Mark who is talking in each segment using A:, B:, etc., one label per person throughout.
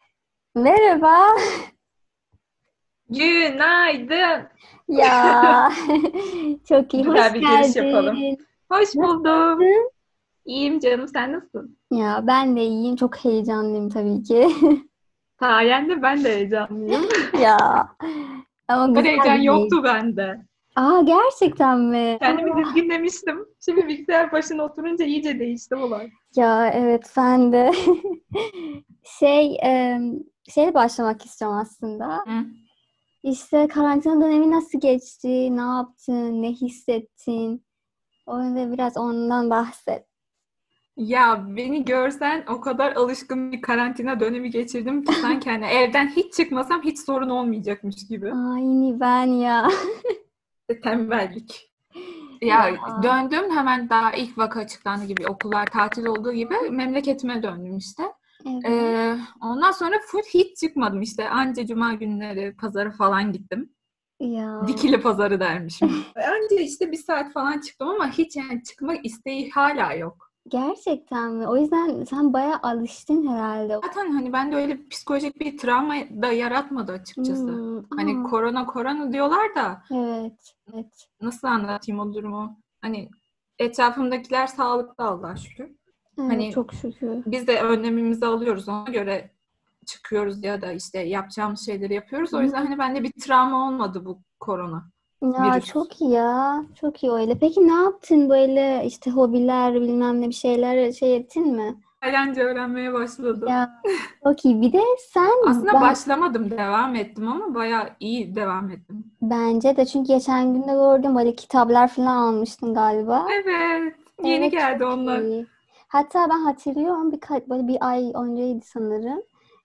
A: Merhaba.
B: Günaydın.
A: Ya çok iyi.
B: Güzel
A: Hoş
B: bir giriş
A: geldin.
B: yapalım. Hoş buldum. İyiyim canım. Sen nasılsın?
A: Ya ben de iyiyim. Çok heyecanlıyım tabii ki.
B: Sayende ben de heyecanlıyım.
A: ya. Ama
B: Ben
A: güzel
B: heyecan
A: bir-
B: yoktu bende.
A: Aa gerçekten mi?
B: Kendimi dizginlemiştim. Şimdi bilgisayar başına oturunca iyice değişti olay.
A: Ya evet ben de. şey e, şeyle başlamak istiyorum aslında.
B: Hı.
A: İşte karantina dönemi nasıl geçti? Ne yaptın? Ne hissettin? O yüzden biraz ondan bahset.
B: Ya beni görsen o kadar alışkın bir karantina dönemi geçirdim ki sanki hani evden hiç çıkmasam hiç sorun olmayacakmış gibi.
A: Aynı ben ya.
B: Tembellik.
A: Ya.
B: Ya döndüm hemen daha ilk vaka açıklandı gibi okullar tatil olduğu gibi memleketime döndüm işte.
A: Evet.
B: Ee, ondan sonra full hiç çıkmadım işte. Anca cuma günleri pazara falan gittim.
A: Ya.
B: Dikili pazarı dermişim. Anca işte bir saat falan çıktım ama hiç yani çıkma isteği hala yok.
A: Gerçekten mi? O yüzden sen bayağı alıştın herhalde.
B: Zaten hani ben de öyle psikolojik bir travma da yaratmadı açıkçası.
A: Hmm,
B: Hani
A: aa,
B: korona korona diyorlar da
A: evet, evet.
B: nasıl anlatayım o durumu? Hani etrafımdakiler sağlıklı Allah'a şükür.
A: Evet,
B: Hani-
A: çok şükür.
B: Biz de önlemimizi alıyoruz ona göre çıkıyoruz ya da işte yapacağımız şeyleri yapıyoruz. O yüzden hani bende bir travma olmadı bu korona.
A: Ya
B: virüs.
A: çok iyi ya. Çok iyi öyle. Peki ne yaptın böyle işte hobiler bilmem ne bir şeyler şey ettin mi?
B: Eğlence öğrenmeye başladım.
A: Ya çok iyi. Bir de sen
B: Aslında
A: ben-
B: başlamadım, devam ettim ama bayağı iyi devam ettim.
A: bence de çünkü geçen gün de gördüm böyle kitaplar falan almıştın galiba.
B: Evet, yeni
A: Evet,
B: geldi
A: çok
B: onlar.
A: iyi. Hatta ben hatırlıyorum birkaç böyle bir ay önceydi sanırım.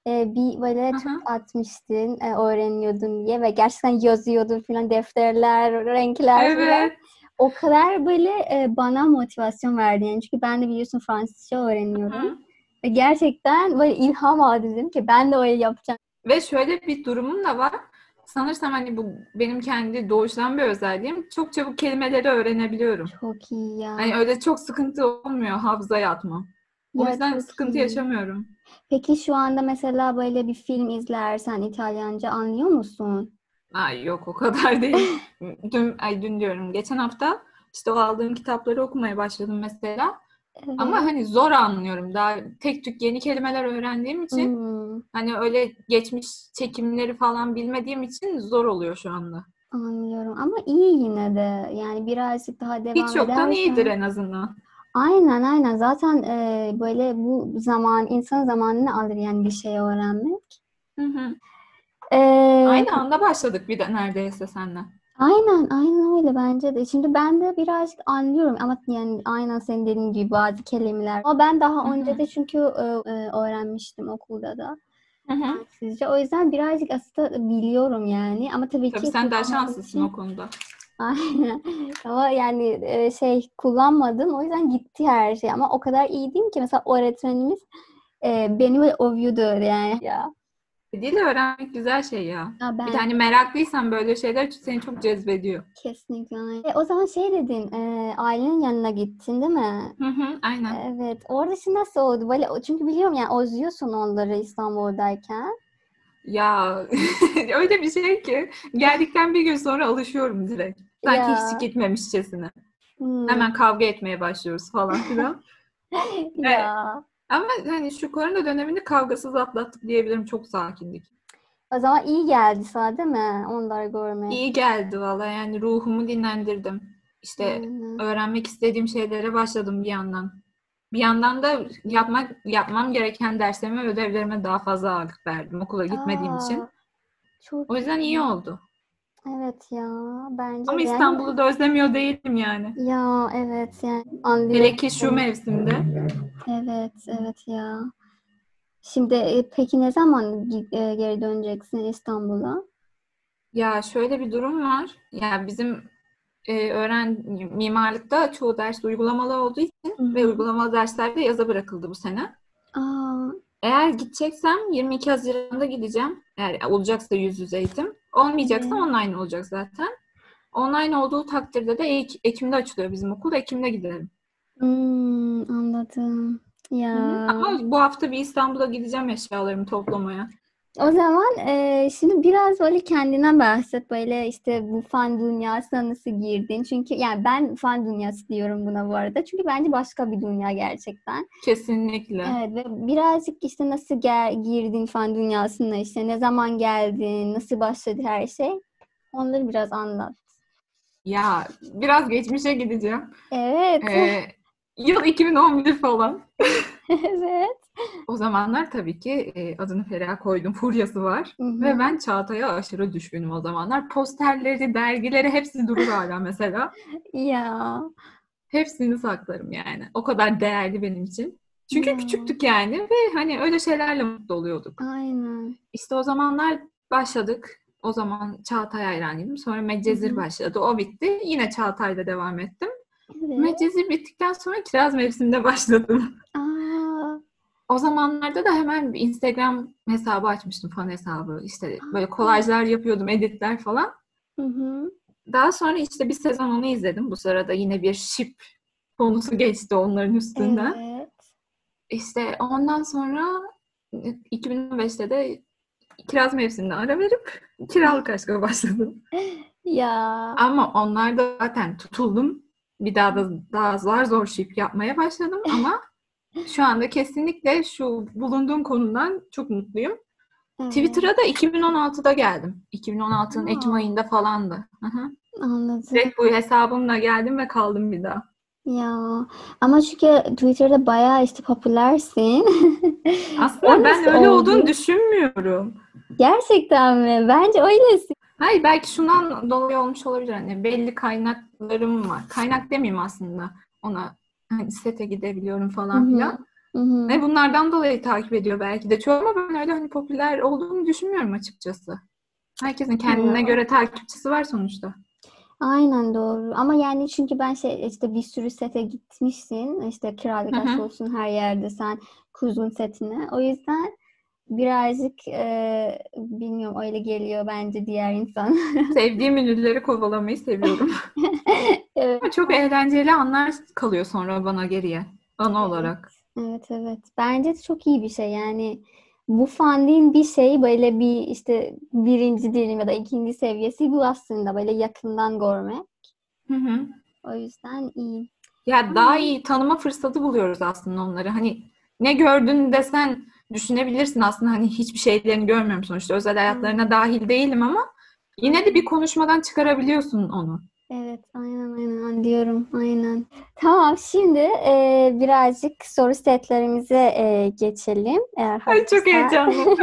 A: Ee, bir böyle
B: Aha.
A: tweet atmıştın e, öğreniyordun diye ve gerçekten yazıyordun falan defterler, renkler falan.
B: Evet,
A: O kadar böyle e, bana motivasyon verdi yani. Çünkü ben de biliyorsun Fransızca öğreniyorum.
B: Hı.
A: Ve gerçekten böyle ilham aldı dedim ki ben de öyle yapacağım.
B: Ve şöyle bir durumum da var. Sanırsam hani bu benim kendi doğuştan bir özelliğim. Çok çabuk kelimeleri öğrenebiliyorum.
A: Çok iyi ya.
B: Hani öyle çok sıkıntı olmuyor hafızaya atmam. O
A: Ya
B: yüzden
A: çok
B: sıkıntı
A: iyi.
B: yaşamıyorum.
A: Peki şu anda mesela böyle bir film izlersen İtalyanca anlıyor musun?
B: Ay yok o kadar değil. Dün, ay dün diyorum. Geçen hafta işte o aldığım kitapları okumaya başladım mesela. Ama
A: Evet.
B: hani zor anlıyorum. Daha tek tük yeni kelimeler öğrendiğim için
A: Hmm.
B: hani öyle geçmiş çekimleri falan bilmediğim için zor oluyor şu anda.
A: Anlıyorum ama iyi yine de yani birazcık daha devam
B: Hiç yoktan
A: edersen
B: iyidir en azından.
A: aynen aynen zaten e, böyle bu zaman insan zamanını alır yani bir şey öğrenmek.
B: Hı hı.
A: E,
B: Aynı anda başladık bir de neredeyse seninle.
A: aynen aynen öyle bence de. Şimdi ben de birazcık anlıyorum ama yani aynen senin dediğin gibi bazı kelimeler. Ama ben daha
B: Hı hı.
A: önce de çünkü e, e, öğrenmiştim okulda da
B: Hı hı.
A: Fransızca. O yüzden birazcık aslında biliyorum yani ama tabii
B: Tabii
A: ki
B: sen daha
A: kullanmak
B: şanslısın
A: için
B: o konuda.
A: Aynen. Ama yani e, şey kullanmadım. O yüzden gitti her şey. Ama o kadar iyiydim ki mesela öğretmenimiz e, beni böyle övüyordu yani. Ya,
B: Dil öğrenmek güzel şey ya.
A: ya
B: Bir
A: ben
B: de hani meraklıysan böyle şeyler seni çok cezbediyor.
A: kesinlikle. aynı. E, o zaman şey dedin. E, ailenin yanına gittin değil mi?
B: Hı hı, aynen.
A: Evet. Orada şimdi nasıl oldu? Böyle, o- çünkü biliyorum yani özlüyorsun onları İstanbul'dayken.
B: Ya öyle bir şey ki geldikten bir gün sonra alışıyorum direkt. Sanki
A: Ya.
B: hiç gitmemişçesine.
A: Hmm.
B: Hemen kavga etmeye başlıyoruz falan filan.
A: Ya.
B: Ama hani şu korona dönemini kavgasız atlattık diyebilirim. Çok sakindik.
A: O zaman iyi geldi sana değil mi? Onları görmek.
B: İyi geldi valla yani ruhumu dinlendirdim. İşte
A: Aynen.
B: öğrenmek istediğim şeylere başladım bir yandan. Bir yandan da yapmak yapmam gereken derslerime, ödevlerime daha fazla ağırlık verdim okula gitmediğim için.
A: Aa, çok
B: O yüzden iyi oldu.
A: Evet ya bence
B: Ama
A: de yani-
B: İstanbul'u da özlemiyor değilim yani.
A: ya evet yani anlıyorum.
B: Hele ki şu mevsimde.
A: Evet evet ya. Şimdi e, peki ne zaman gi- e, geri döneceksin İstanbul'a?
B: Ya şöyle bir durum var. Ya bizim e, öğren mimarlıkta çoğu ders uygulamalı olduğu için
A: Hı
B: ve
A: hı.
B: uygulamalı dersler de yaza bırakıldı bu sene.
A: Aa,
B: Eğer gideceksem 22 Haziran'da gideceğim. Eğer olacaksa yüz yüze eğitim. Olmayacaksa
A: evet.
B: online olacak zaten. Online olduğu takdirde de ilk Ekim'de açılıyor bizim okul. Ekim'de gidelim.
A: Hmm, anladım. Ya
B: Hı hı. Ama bu hafta bir İstanbul'a gideceğim eşyalarımı toplamaya.
A: O zaman eee, şimdi biraz böyle kendinden bahset. Böyle işte bu fan dünyasına nasıl girdin? Çünkü yani ben fan dünyası diyorum buna bu arada. Çünkü bence başka bir dünya gerçekten.
B: Kesinlikle.
A: Evet ve birazcık işte nasıl gel- girdin fan dünyasına işte ne zaman geldin, nasıl başladı her şey? Onları biraz anlat.
B: Ya biraz geçmişe gideceğim.
A: Evet.
B: Ee, yıl 2011 falan.
A: Evet.
B: O zamanlar tabii ki e, adını Feriha koydum. Furyası var.
A: Hı hı.
B: Ve ben Çağatay'a aşırı düşkünüm o zamanlar. Posterleri, dergileri hepsi durur hala mesela.
A: Ya.
B: Hepsini saklarım yani. O kadar değerli benim için. Çünkü
A: Ya.
B: küçüktük yani ve hani öyle şeylerle mutlu oluyorduk.
A: Aynen.
B: İşte o zamanlar başladık. O zaman Çağatay hayranıydım. Sonra
A: Hı
B: Medcezir
A: hı.
B: başladı. O bitti. Yine Çağatay'la devam ettim.
A: Evet.
B: Medcezir bittikten sonra kiraz mevsiminde başladım.
A: Aa.
B: O zamanlarda da hemen bir Instagram hesabı açmıştım fan hesabı. İşte böyle kolajlar yapıyordum, editler falan.
A: Hı hı.
B: Daha sonra işte bir sezon onu izledim. Bu sırada yine bir şip konusu geçti onların üstünden.
A: Evet.
B: İşte ondan sonra 2015'te de kiraz mevsimine ara verip kiralık aşka başladım.
A: Ya.
B: Ama onlar da zaten tutuldum. Bir daha da daha zar zor şip yapmaya başladım ama şu anda kesinlikle şu bulunduğum konumdan çok mutluyum.
A: Evet.
B: Twitter'a da 2016'da geldim. 2016'nın
A: Aa.
B: Ekim ayında falandı. Hı hı.
A: Anladım.
B: Direkt bu hesabımla geldim ve kaldım bir daha.
A: Ya ama çünkü Twitter'da bayağı işte popülersin. O
B: Aslında ben
A: nasıl
B: öyle
A: oldu?
B: olduğunu düşünmüyorum.
A: Gerçekten mi? Bence öylesin.
B: Hayır belki şundan dolayı olmuş olabilir hani belli kaynaklarım var. Kaynak demeyeyim aslında ona hani sete gidebiliyorum
A: Hı
B: falan
A: hı.
B: filan.
A: Hı hı.
B: Ve bunlardan dolayı takip ediyor belki de çoğu ama ben öyle hani popüler olduğunu düşünmüyorum açıkçası. Herkesin kendine
A: Ya.
B: göre takipçisi var sonuçta.
A: Aynen doğru. Ama yani çünkü ben şey işte bir sürü sete gitmişsin. İşte kiralık
B: Hı hı.
A: aşk olsun her yerde sen kuzun setine. O yüzden birazcık e, bilmiyorum öyle geliyor bence diğer insan.
B: Sevdiğim ünlüleri kovalamayı seviyorum.
A: Evet,
B: Ama çok eğlenceli anlar kalıyor sonra bana geriye. Ana olarak.
A: evet evet. Bence de çok iyi bir şey. Yani bu fanliğin bir şeyi böyle bir işte birinci diyelim ya da ikinci seviyesi bu aslında böyle yakından görme.
B: Hı hı.
A: O yüzden iyi.
B: Ya daha iyi tanıma fırsatı buluyoruz aslında onları. Hani ne gördün desen düşünebilirsin aslında hani hiçbir şeylerini görmüyorum sonuçta. Özel hayatlarına dahil değilim ama yine de bir konuşmadan çıkarabiliyorsun onu.
A: Evet, aynen aynen anlıyorum, aynen. Tamam, şimdi e, birazcık soru setlerimize e, geçelim. Eğer
B: Ay çok
A: hazırsa.
B: heyecanlı.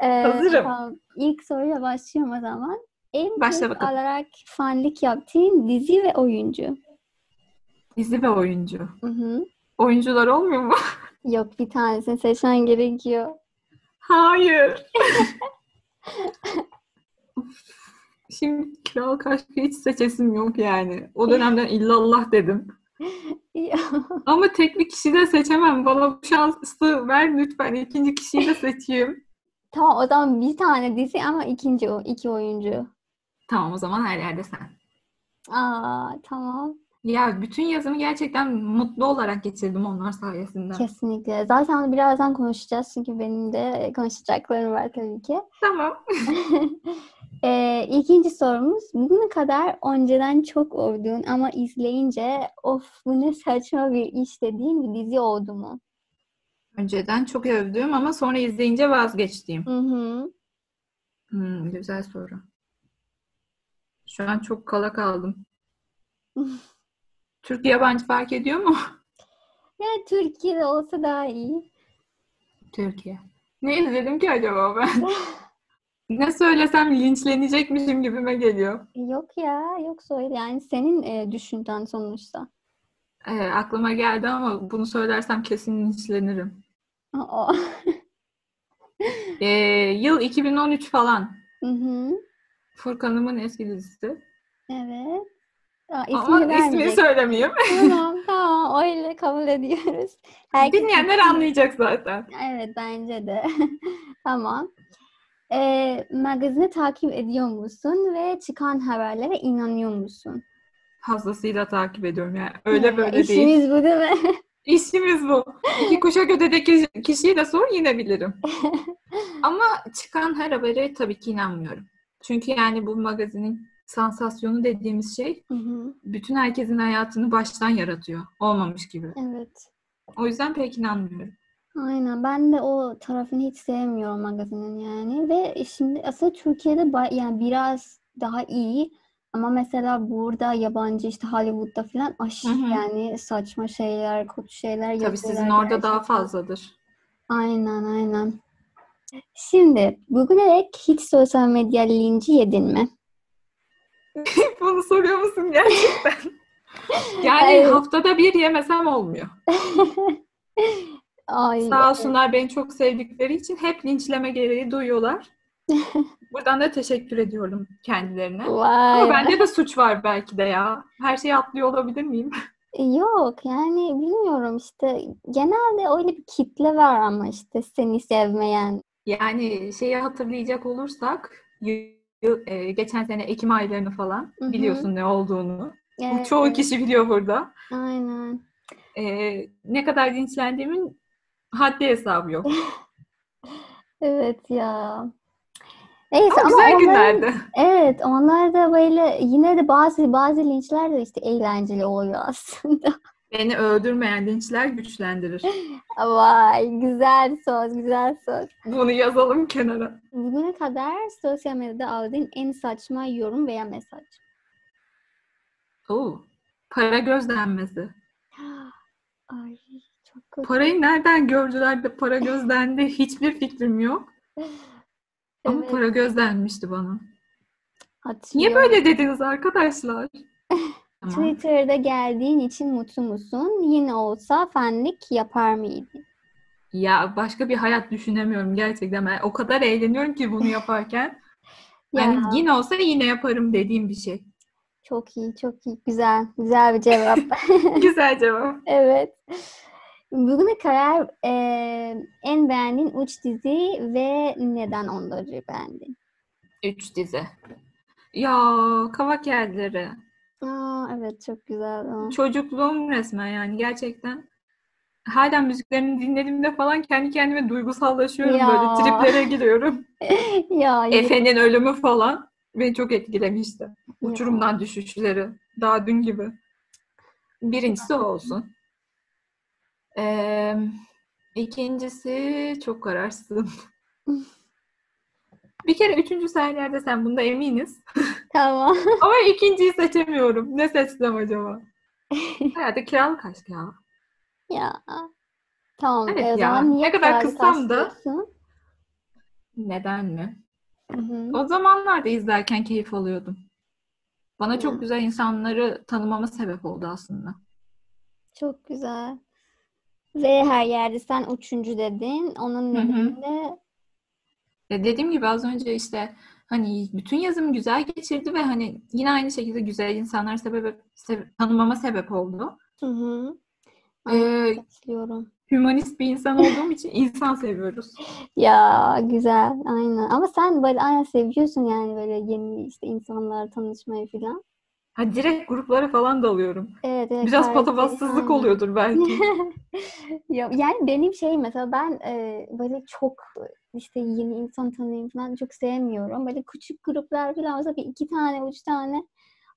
A: E,
B: Hazırım.
A: tamam. İlk soruyla başlıyorum o zaman. En
B: Başla
A: keyif
B: bakalım.
A: alarak fanlık yaptığın dizi ve oyuncu.
B: Dizi ve oyuncu.
A: Hı hı.
B: Oyuncular olmuyor mu?
A: Yok bir tanesini seçmen gerekiyor.
B: Hayır. Şimdi kiralık aşkı hiç seçesim yok yani. O dönemden illallah dedim.
A: Ya,
B: Ama tek bir kişi de seçemem. Bana bu şansı ver lütfen. İkinci kişiyi de seçeyim.
A: Tamam, o zaman bir tane dizi ama ikinci o iki oyuncu.
B: Tamam o zaman her yerde sen.
A: Aa, tamam.
B: Ya bütün yazımı gerçekten mutlu olarak geçirdim onlar sayesinde.
A: Kesinlikle. Zaten birazdan konuşacağız çünkü benim de konuşacaklarım var tabii ki.
B: Tamam.
A: Ee, ikinci sorumuz. Bugüne kadar önceden çok övdüğün ama izleyince of bu ne saçma bir iş dediğin bir dizi oldu mu?
B: Önceden çok övdüğüm ama sonra izleyince vazgeçtiğim.
A: Hı hı.
B: Hmm, güzel soru. Şu an çok kala kaldım. Türk yabancı fark ediyor mu?
A: Yani Türkiye'de olsa daha iyi.
B: Türkiye. Ne izledim ki acaba ben? Ne söylesem linçlenecekmişim gibime geliyor.
A: Yok ya, yok söyle. Yani senin e, düşüncen sonuçta.
B: Ee, aklıma geldi ama bunu söylersem kesin linçlenirim.
A: Aa.
B: Ee, yıl 2013 falan.
A: Hı hı.
B: Furkan'ımın eski dizisi.
A: Evet. Aa,
B: Ama
A: ismini
B: ismini
A: vermeyecek.
B: söylemeyeyim.
A: Tamam, tamam. Öyle kabul ediyoruz. Herkes
B: Dinleyenler anlayacak zaten.
A: Evet bence de. Tamam. Ee, magazini takip ediyor musun ve çıkan haberlere inanıyor musun?
B: Fazlasıyla takip ediyorum yani. Öyle
A: Ya,
B: böyle
A: işimiz
B: değil.
A: bu değil mi?
B: İşimiz bu. İki kuşak ötedeki kişiyi de sor yine bilirim. Ama çıkan her habere tabii ki inanmıyorum. Çünkü yani bu magazinin sansasyonu dediğimiz şey
A: Hı hı,
B: bütün herkesin hayatını baştan yaratıyor. Olmamış gibi.
A: evet.
B: O yüzden pek inanmıyorum.
A: Aynen ben de o tarafını hiç sevmiyorum magazinin yani ve şimdi aslında Türkiye'de ba- yani biraz daha iyi ama mesela burada yabancı işte Hollywood'da falan
B: Hı
A: aşırı
B: hı.
A: yani saçma şeyler, kötü şeyler
B: Tabii sizin
A: yazıyorlar
B: orada daha
A: gerçekten.
B: fazladır.
A: Aynen aynen. Şimdi Google'e ek hiç sosyal medya linci yedin mi?
B: Bunu soruyor musun gerçekten? Yani
A: Evet.
B: haftada bir yemesem olmuyor.
A: Ay
B: Sağ olsunlar beni çok sevdikleri için hep linçleme gereği duyuyorlar. Buradan da teşekkür ediyorum kendilerine. Ama
A: vay.
B: bende de suç var belki de ya. Her şeyi atlıyor olabilir miyim?
A: Yok yani bilmiyorum işte genelde öyle bir kitle var ama işte seni sevmeyen.
B: Yani şeyi hatırlayacak olursak y- y- e, geçen sene Ekim aylarını falan
A: Hı hı.
B: biliyorsun ne olduğunu. Bu
A: Evet,
B: çoğu
A: evet,
B: kişi biliyor burada.
A: aynen.
B: E, ne kadar linçlendiğimin haddi hesabı yok.
A: Evet ya. Neyse ama
B: Ama güzel
A: onların-
B: günlerdi.
A: evet onlar da böyle yine de bazı bazı linçler de işte eğlenceli oluyor aslında.
B: Beni öldürmeyen linçler güçlendirir.
A: Vay güzel söz güzel söz.
B: Bunu yazalım kenara.
A: Bugüne kadar sosyal medyada aldığın en saçma yorum veya mesaj.
B: Oo, para gözlenmesi.
A: Ay çok kötü.
B: Parayı nereden gördüler de para gözlendi hiçbir fikrim yok. Ama
A: Evet,
B: para gözlenmişti bana. Niye
A: hatırlıyorum.
B: böyle dediniz arkadaşlar? Tamam.
A: Twitter'da geldiğin için mutlu musun? Yine olsa fenlik yapar mıydın?
B: Ya başka bir hayat düşünemiyorum gerçekten. Ben o kadar eğleniyorum ki bunu yaparken.
A: Ya
B: Yani yine olsa yine yaparım dediğim bir şey.
A: çok iyi, çok iyi. Güzel, güzel bir cevap.
B: Güzel cevap.
A: Evet. Bugüne kadar eee, en beğendiğin üç dizi ve neden onları beğendin?
B: Üç dizi. Ya kavak yerleri.
A: Aa, evet çok güzel. o.
B: Çocukluğum resmen yani gerçekten. Hala müziklerini dinlediğimde falan kendi kendime duygusallaşıyorum
A: Ya.
B: böyle triplere giriyorum.
A: Ya iyi.
B: Efe'nin ölümü falan beni çok etkilemişti.
A: Ya.
B: Uçurumdan düşüşleri. Daha dün gibi. Birincisi o olsun. Ee, ikincisi çok kararsızım. Bir kere üçüncü sayelerde sen bunda eminiz.
A: Tamam.
B: Ama ikinciyi seçemiyorum. Ne seçsem acaba? Herhalde kiralık aşk ya.
A: Ya. Tamam. e,
B: Evet
A: o
B: ya,
A: zaman niye
B: ne kadar
A: kiralık
B: kızsam da-
A: aşk diyorsun?
B: Neden mi?
A: Hı hı.
B: O zamanlarda izlerken keyif alıyordum. Bana
A: Ya.
B: çok güzel insanları tanımama sebep oldu aslında.
A: Çok güzel. Ve her yerde sen üçüncü dedin. Onun
B: Hı hı.
A: nedeni de
B: Ya dediğim gibi az önce işte hani bütün yazımı güzel geçirdi ve hani yine aynı şekilde güzel insanlar sebep, sebe- tanımama sebep oldu.
A: hı hı. Aynen
B: Ee,
A: katılıyorum.
B: hümanist bir insan olduğum için insan seviyoruz.
A: Ya güzel aynen. Ama sen böyle aynen seviyorsun yani böyle yeni işte insanlarla tanışmayı falan.
B: Ha direkt gruplara falan dalıyorum.
A: Evet, evet
B: Biraz
A: karakteri
B: patavatsızlık
A: aynen.
B: oluyordur belki.
A: Ya, yani benim şey mesela ben e, böyle çok işte yeni insan tanıyayım falan çok sevmiyorum. Böyle küçük gruplar falan olsa bir iki tane üç tane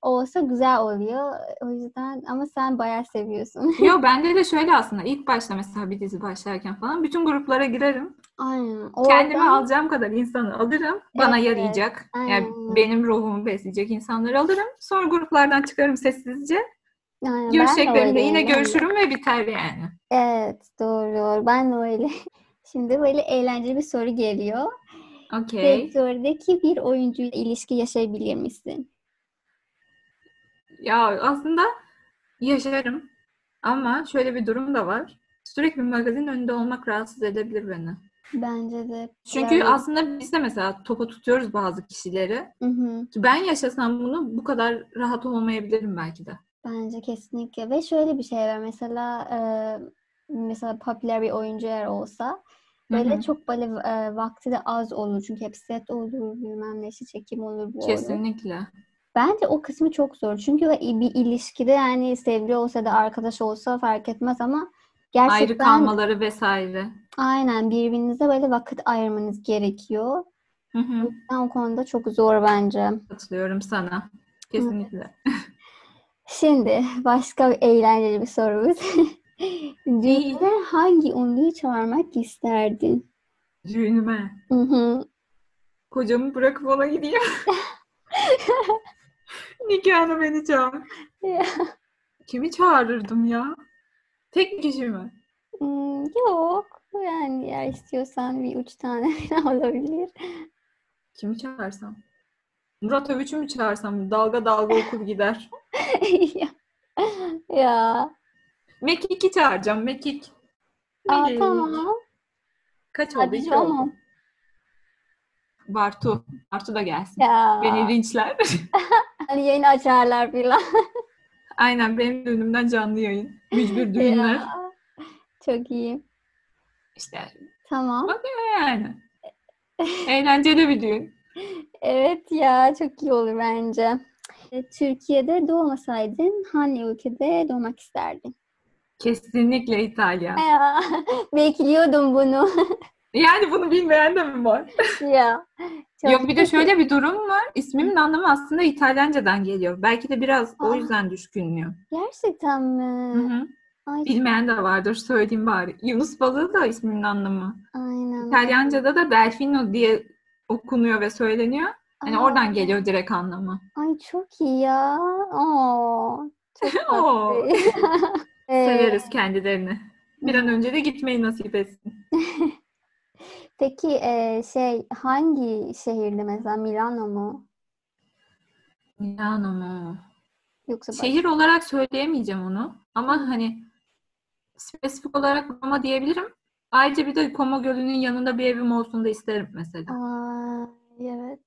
A: olsa güzel oluyor. O yüzden ama sen bayağı seviyorsun.
B: Yo bende de şöyle aslında ilk başta mesela bir dizi başlarken falan bütün gruplara girerim.
A: Aynen.
B: Kendime
A: Oradan
B: alacağım kadar insanı alırım. Bana
A: Evet,
B: yarayacak. Yani
A: aynen.
B: benim ruhumu besleyecek insanları alırım. Sonra gruplardan çıkarım sessizce.
A: Aynen ben de
B: Görüşeceklerimde
A: öyleyim
B: yine
A: ben de.
B: görüşürüm ve biter yani.
A: Evet doğru doğru ben de öyle. Şimdi böyle eğlenceli bir soru geliyor.
B: Okey.
A: Sektördeki bir oyuncuyla ilişki yaşayabilir misin?
B: Ya aslında yaşarım. Ama şöyle bir durum da var. Sürekli magazin önünde olmak rahatsız edebilir beni.
A: Bence de.
B: Çünkü
A: Yani-
B: aslında biz de mesela topa tutuyoruz bazı kişileri.
A: Hı hı.
B: Ki Ben yaşasam bunu bu kadar rahat olmayabilirim belki de.
A: Bence kesinlikle ve şöyle bir şey var mesela e, mesela popüler bir oyuncu eğer olsa
B: Hı
A: böyle
B: hı.
A: çok böyle e, vakti de az olur çünkü hep set olur bilmem ne işte çekim olur bu olur.
B: Kesinlikle.
A: Bence o kısmı çok zor. Çünkü bir ilişkide yani sevgili olsa da arkadaş olsa fark etmez ama Gerçekten
B: Ayrı kalmaları vesaire.
A: aynen birbirinize böyle vakit ayırmanız gerekiyor.
B: Hı hı.
A: Ben o konuda çok zor bence.
B: Katılıyorum sana. Kesinlikle.
A: Şimdi başka bir eğlenceli bir sorumuz. Düğüne hangi ünlüyü çağırmak isterdin?
B: Düğünüme.
A: Hı hı.
B: Kocamı bırakıp ona gideyim. Nikahını beni çağır.
A: Ya.
B: Kimi çağırırdım ya? Tek kişi mi?
A: Hmm, Yok. Yani ya istiyorsan bir üç tane falan olabilir.
B: Kimi çağırsam? Murat Övüç'ü mü çağırsam? Dalga dalga okul gider.
A: Ya. Ya.
B: Mekik'i çağıracağım. Mekik.
A: Aa,
B: Mekik.
A: tamam.
B: Kaç oldu?
A: Hadi
B: İki oldu.
A: canım.
B: Bartu. Bartu da gelsin.
A: Ya.
B: Beni linçler.
A: Hani yayın açarlar falan.
B: Aynen benim düğünümden canlı yayın. Mücbir düğünler.
A: Ya. Çok iyi.
B: İşte
A: Tamam.
B: yani. Eğlenceli bir düğün.
A: Evet ya çok iyi olur bence. E, Türkiye'de doğmasaydın hangi ülkede doğmak isterdin?
B: Kesinlikle İtalya.
A: Ya, bekliyordum bunu.
B: Yani bunu bilmeyen de mi var?
A: Ya. çok-
B: Yok bir de şöyle bir durum var. İsmimin anlamı aslında İtalyancadan geliyor. Belki de biraz o
A: Aa.
B: yüzden düşkünlüğüm.
A: Gerçekten
B: Hı
A: mi?
B: hı.
A: Ay,
B: Bilmeyen de vardır söyleyeyim bari. Yunus balığı da isminin anlamı.
A: aynen.
B: İtalyanca'da da Delfino diye okunuyor ve söyleniyor. Hani
A: Aa,
B: oradan geliyor direkt anlamı.
A: Ay çok iyi ya. Oo, çok
B: Oo.
A: tatlı. Ee,
B: Severiz kendilerini. Bir an önce de gitmeyi nasip etsin.
A: Peki e, şey hangi şehirde mesela Milano mu?
B: Milano mu?
A: Yoksa başka-
B: Şehir olarak söyleyemeyeceğim onu. Ama hani spesifik olarak Roma diyebilirim. Ayrıca bir de Como Gölü'nün yanında bir evim olsun da isterim mesela.
A: Aa, evet.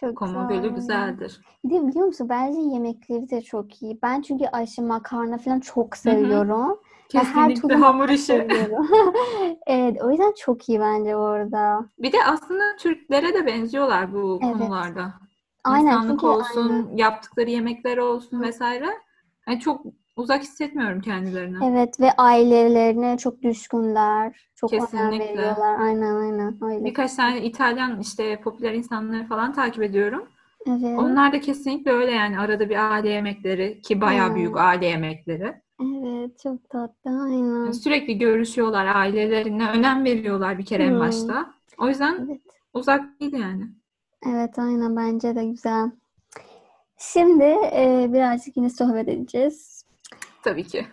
A: Çok
B: Como
A: güzel.
B: Gölü güzeldir.
A: Bir de biliyor musun bence yemekleri de çok iyi. Ben çünkü aşı makarna falan çok seviyorum. Ya her
B: Kesinlikle
A: türlü şey.
B: hamur işi.
A: Seviyorum. Evet, o yüzden çok iyi bence orada.
B: Bir de aslında Türklere de benziyorlar bu
A: Evet.
B: konularda.
A: Aynen
B: İnsanlık
A: çünkü
B: olsun,
A: aynen.
B: yaptıkları yemekler olsun
A: Hı.
B: vesaire. Yani çok uzak hissetmiyorum kendilerini.
A: Evet ve ailelerine çok düşkünler. Çok önem
B: Kesinlikle.
A: veriyorlar. Aynen aynen öyle.
B: Birkaç tane İtalyan işte popüler insanları falan takip ediyorum.
A: Evet.
B: Onlar da kesinlikle öyle yani arada bir aile yemekleri ki bayağı
A: Hı.
B: büyük aile yemekleri.
A: Evet çok tatlı aynen.
B: Yani sürekli görüşüyorlar ailelerine, önem veriyorlar bir kere en
A: Hı.
B: başta. O yüzden
A: Evet.
B: uzak değil yani.
A: Evet aynen bence de güzel. Şimdi e, birazcık yine sohbet edeceğiz.
B: Tabii ki.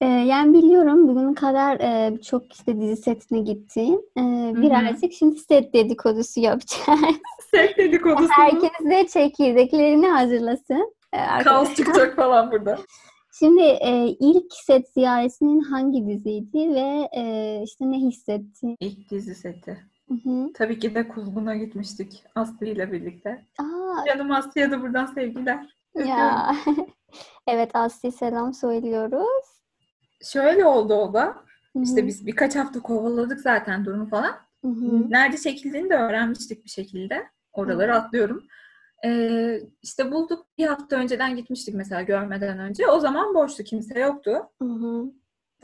A: Ee, yani biliyorum bugün kadar e, birçok işte dizi setine gittin. Ee,
B: hı.
A: birazcık şimdi set dedikodusu yapacağız.
B: Set dedikodusu.
A: Herkes de çekirdeklerini hazırlasın. Ee, arkadaşlar.
B: çıkacak falan burada.
A: Şimdi e, ilk set ziyaretinin hangi diziydi ve e, işte ne hissettin?
B: İlk dizi seti.
A: Hı hı.
B: Tabii ki de Kuzgun'a gitmiştik Aslı ile birlikte.
A: Aa
B: Canım Aslı'ya da buradan sevgiler.
A: ya. Evet Aslı'ya selam söylüyoruz.
B: Şöyle oldu o da.
A: Hı
B: İşte
A: hı,
B: biz birkaç hafta kovaladık zaten durumu falan.
A: hı hı.
B: Nerede çekildiğini de öğrenmiştik bir şekilde. Oraları
A: Hı.
B: atlıyorum. Ee, işte bulduk bir hafta önceden gitmiştik mesela görmeden önce. O zaman boştu kimse yoktu.
A: Hı hı.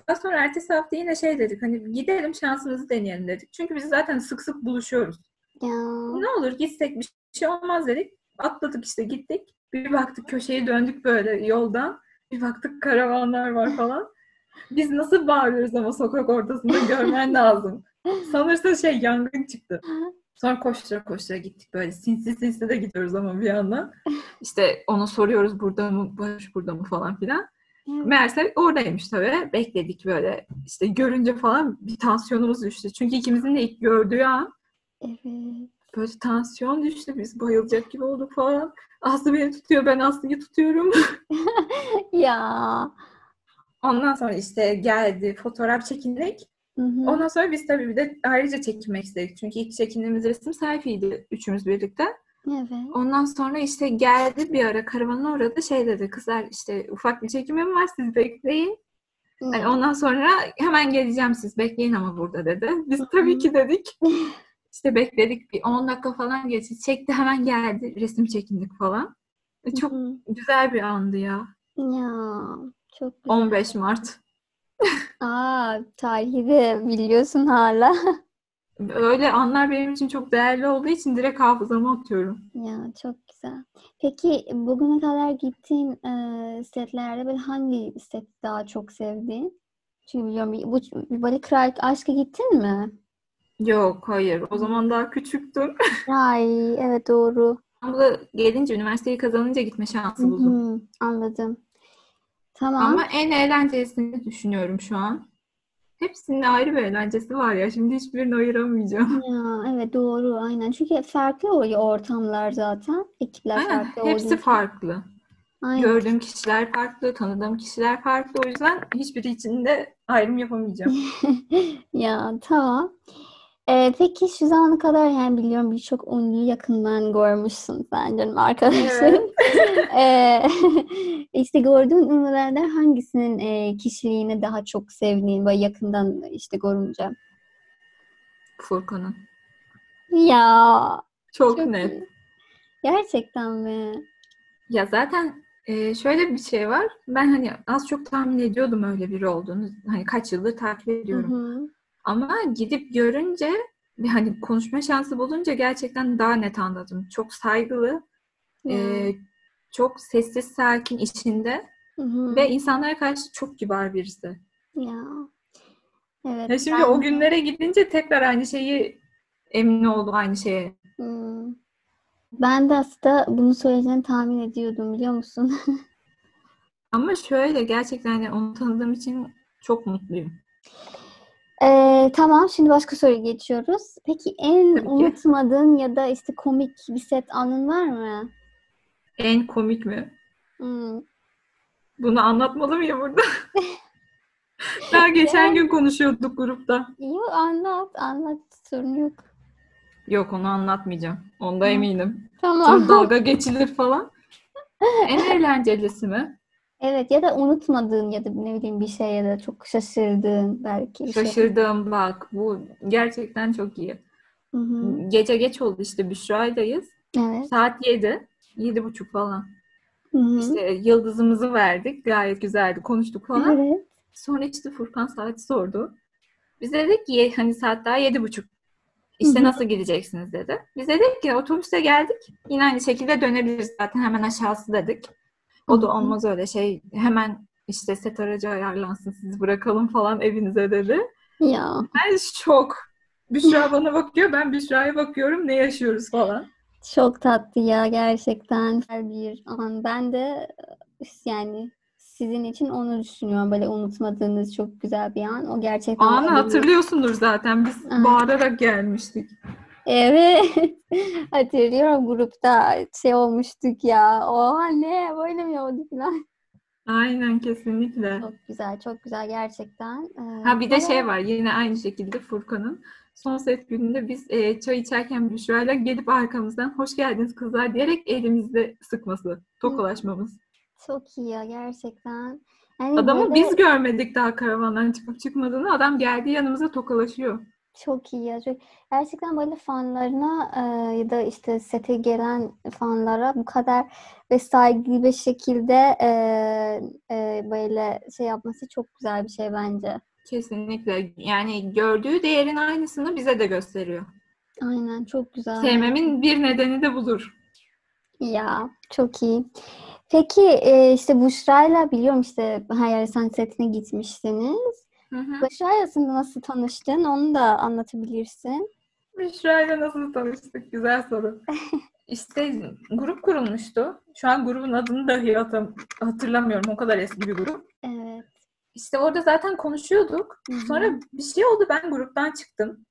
B: Daha sonra ertesi hafta yine şey dedik hani gidelim şansımızı deneyelim dedik. Çünkü biz zaten sık sık buluşuyoruz.
A: Ya.
B: Ne olur gitsek bir şey olmaz dedik. Atladık işte gittik. Bir baktık köşeye döndük böyle yoldan. Bir baktık karavanlar var falan. Biz nasıl bağırıyoruz ama sokak ortasında görmen lazım. Sanırsa şey yangın çıktı. Sonra koştura koştura gittik böyle sinsi sinsi de gidiyoruz ama bir yandan. İşte ona soruyoruz burada mı, Barış burada mı falan filan. Meğerse oradaymış tabii. Bekledik böyle. İşte görünce falan bir tansiyonumuz düştü. Çünkü ikimizin de ilk gördüğü an
A: Evet.
B: böyle tansiyon düştü. Biz bayılacak gibi olduk falan. Aslı beni tutuyor, ben Aslı'yı tutuyorum.
A: Ya.
B: Ondan sonra işte geldi fotoğraf çekindik.
A: Hı hı.
B: Ondan sonra biz tabii bir de ayrıca çekinmek istedik. Çünkü ilk çekindiğimiz resim selfie'ydi üçümüz birlikte.
A: Evet.
B: Ondan sonra işte geldi bir ara karavana uğradı şey dedi kızlar işte ufak bir çekimim var siz bekleyin. Yani ondan sonra hemen geleceğim siz bekleyin ama burada dedi. Biz tabii ki dedik. İşte bekledik bir 10 dakika falan geçti. Çekti hemen geldi resim çekindik falan. E, Çok
A: Hı hı.
B: güzel bir andı ya.
A: Ya çok güzel.
B: 15 Mart.
A: Aa, tarihi de biliyorsun hala.
B: Öyle anlar benim için çok değerli olduğu için direkt hafızama atıyorum.
A: Ya çok güzel. Peki bugüne kadar gittiğin e, setlerde böyle hangi seti daha çok sevdin? Çünkü biliyorum bir, bu bir Bali Kralik Aşk'a gittin mi?
B: Yok, hayır. O zaman daha küçüktüm.
A: Ay evet doğru.
B: İstanbul'a gelince, üniversiteyi kazanınca gitme şansı
A: Hı
B: buldum.
A: hı, anladım. Tamam.
B: Ama en eğlencelisini düşünüyorum şu an. Hepsinin ayrı bir eğlencesi var ya. Şimdi hiçbirini ayıramayacağım.
A: Ya, evet doğru aynen. Çünkü farklı oluyor ortamlar zaten. Ekipler
B: Aynen.
A: farklı olduğu
B: Hepsi
A: için.
B: farklı.
A: Aynen.
B: Gördüğüm kişiler farklı, tanıdığım kişiler farklı. O yüzden hiçbiri içinde ayrım yapamayacağım.
A: Ya tamam. Ee, peki şu zamana kadar yani biliyorum birçok ünlü yakından görmüşsün sen canım arkadaşlarım. Ee, işte gördüğün ünlülerden hangisinin e, kişiliğini daha çok sevdiğin ve yakından işte görünce?
B: Furkan'ın.
A: Ya
B: Çok,
A: çok
B: net.
A: iyi. Gerçekten mi?
B: Ya zaten e, şöyle bir şey var. Ben hani az çok tahmin ediyordum öyle biri olduğunu. Hani kaç yıldır takip
A: Hı
B: ediyorum.
A: hı.
B: Ama gidip görünce ve hani konuşma şansı bulunca gerçekten daha net anladım. Çok saygılı,
A: Ya.
B: e, çok sessiz, sakin içinde
A: Hı hı.
B: ve insanlara karşı çok kibar birisi.
A: Ya. Evet
B: Ya şimdi
A: ben
B: o günlere gidince tekrar aynı şeyi emin oldum aynı şeye.
A: Hmm. Ben de aslında bunu söyleyeceğini tahmin ediyordum biliyor musun?
B: Ama şöyle gerçekten hani onu tanıdığım için çok mutluyum.
A: Ee, tamam, şimdi başka soruya geçiyoruz. Peki en
B: Tabii ki.
A: unutmadığın ya da işte komik bir set anın var mı?
B: En komik mi?
A: Hmm.
B: Bunu anlatmalı mıyım burada? Daha geçen gün konuşuyorduk grupta.
A: Yo, anlat, anlat, sorun yok.
B: Yok onu anlatmayacağım. Onda
A: Hı.
B: eminim. Sonra
A: Tamam.
B: dalga geçilir falan. En eğlencelisi mi?
A: Evet, ya da unutmadığın ya da ne bileyim bir şey ya da çok şaşırdığın belki bir şey.
B: Şaşırdım bak. Bu gerçekten çok iyi.
A: Hı hı.
B: Gece geç oldu işte Büşra'ydayız.
A: Evet.
B: Saat 7. Yedi buçuk falan.
A: Hı hı.
B: İşte yıldızımızı verdik. Gayet güzeldi. Konuştuk falan.
A: Evet.
B: Sonra işte Furkan saati sordu. Biz dedik ki "Ye- hani saat daha yedi buçuk. İşte
A: Hı hı.
B: nasıl gideceksiniz dedi. Biz dedik ki otobüse geldik. Yine aynı şekilde dönebiliriz zaten hemen aşağısı dedik. O
A: Hı
B: da
A: hı.
B: olmaz öyle şey. Hemen işte set aracı ayarlansın sizi bırakalım falan evinize dedi.
A: Ya.
B: Ben şok. Büşra bana bakıyor ben Büşra'ya bakıyorum ne yaşıyoruz falan.
A: Çok tatlı ya gerçekten her bir an. Ben de e, yani sizin için onu düşünüyorum. Böyle unutmadığınız çok güzel bir an. O gerçekten
B: Anı
A: olabilir.
B: hatırlıyorsundur zaten biz
A: Evet.
B: bağırarak gelmiştik.
A: Evet. Hatırlıyorum grupta şey olmuştuk ya. Oha ne böyle mi oldu falan.
B: Aynen kesinlikle.
A: Çok güzel çok güzel gerçekten. Ee,
B: Ha bir de
A: sonra-
B: şey var yine aynı şekilde Furkan'ın son set gününde biz e, çay içerken Büşra'yla gelip arkamızdan hoş geldiniz kızlar diyerek elimizde sıkması, tokalaşmamız.
A: Çok iyi ya gerçekten. Yani
B: Adamı
A: böyle
B: biz görmedik daha karavandan çıkıp çıkmadığını. Adam geldi yanımıza tokalaşıyor.
A: Çok iyi ya. Çok... Gerçekten böyle fanlarına e, ya da işte sete gelen fanlara bu kadar ve saygılı bir şekilde e, e, böyle şey yapması çok güzel bir şey bence.
B: Kesinlikle. Yani gördüğü değerin aynısını bize de gösteriyor.
A: Aynen çok güzel.
B: Sevmemin bir nedeni de budur.
A: Ya çok iyi. Peki e, işte Büşra'yla biliyorum işte Hayal Sen setine gitmiştiniz.
B: Hı hı.
A: Büşra'yla aslında nasıl tanıştın onu da anlatabilirsin.
B: Büşra'yla nasıl tanıştık? Güzel soru. İşte grup kurulmuştu. Şu an grubun adını dahi hatam- hatırlamıyorum. O kadar eski bir grup.
A: Evet.
B: İşte orada zaten konuşuyorduk.
A: Hı hı.
B: Sonra bir şey oldu. Ben gruptan çıktım.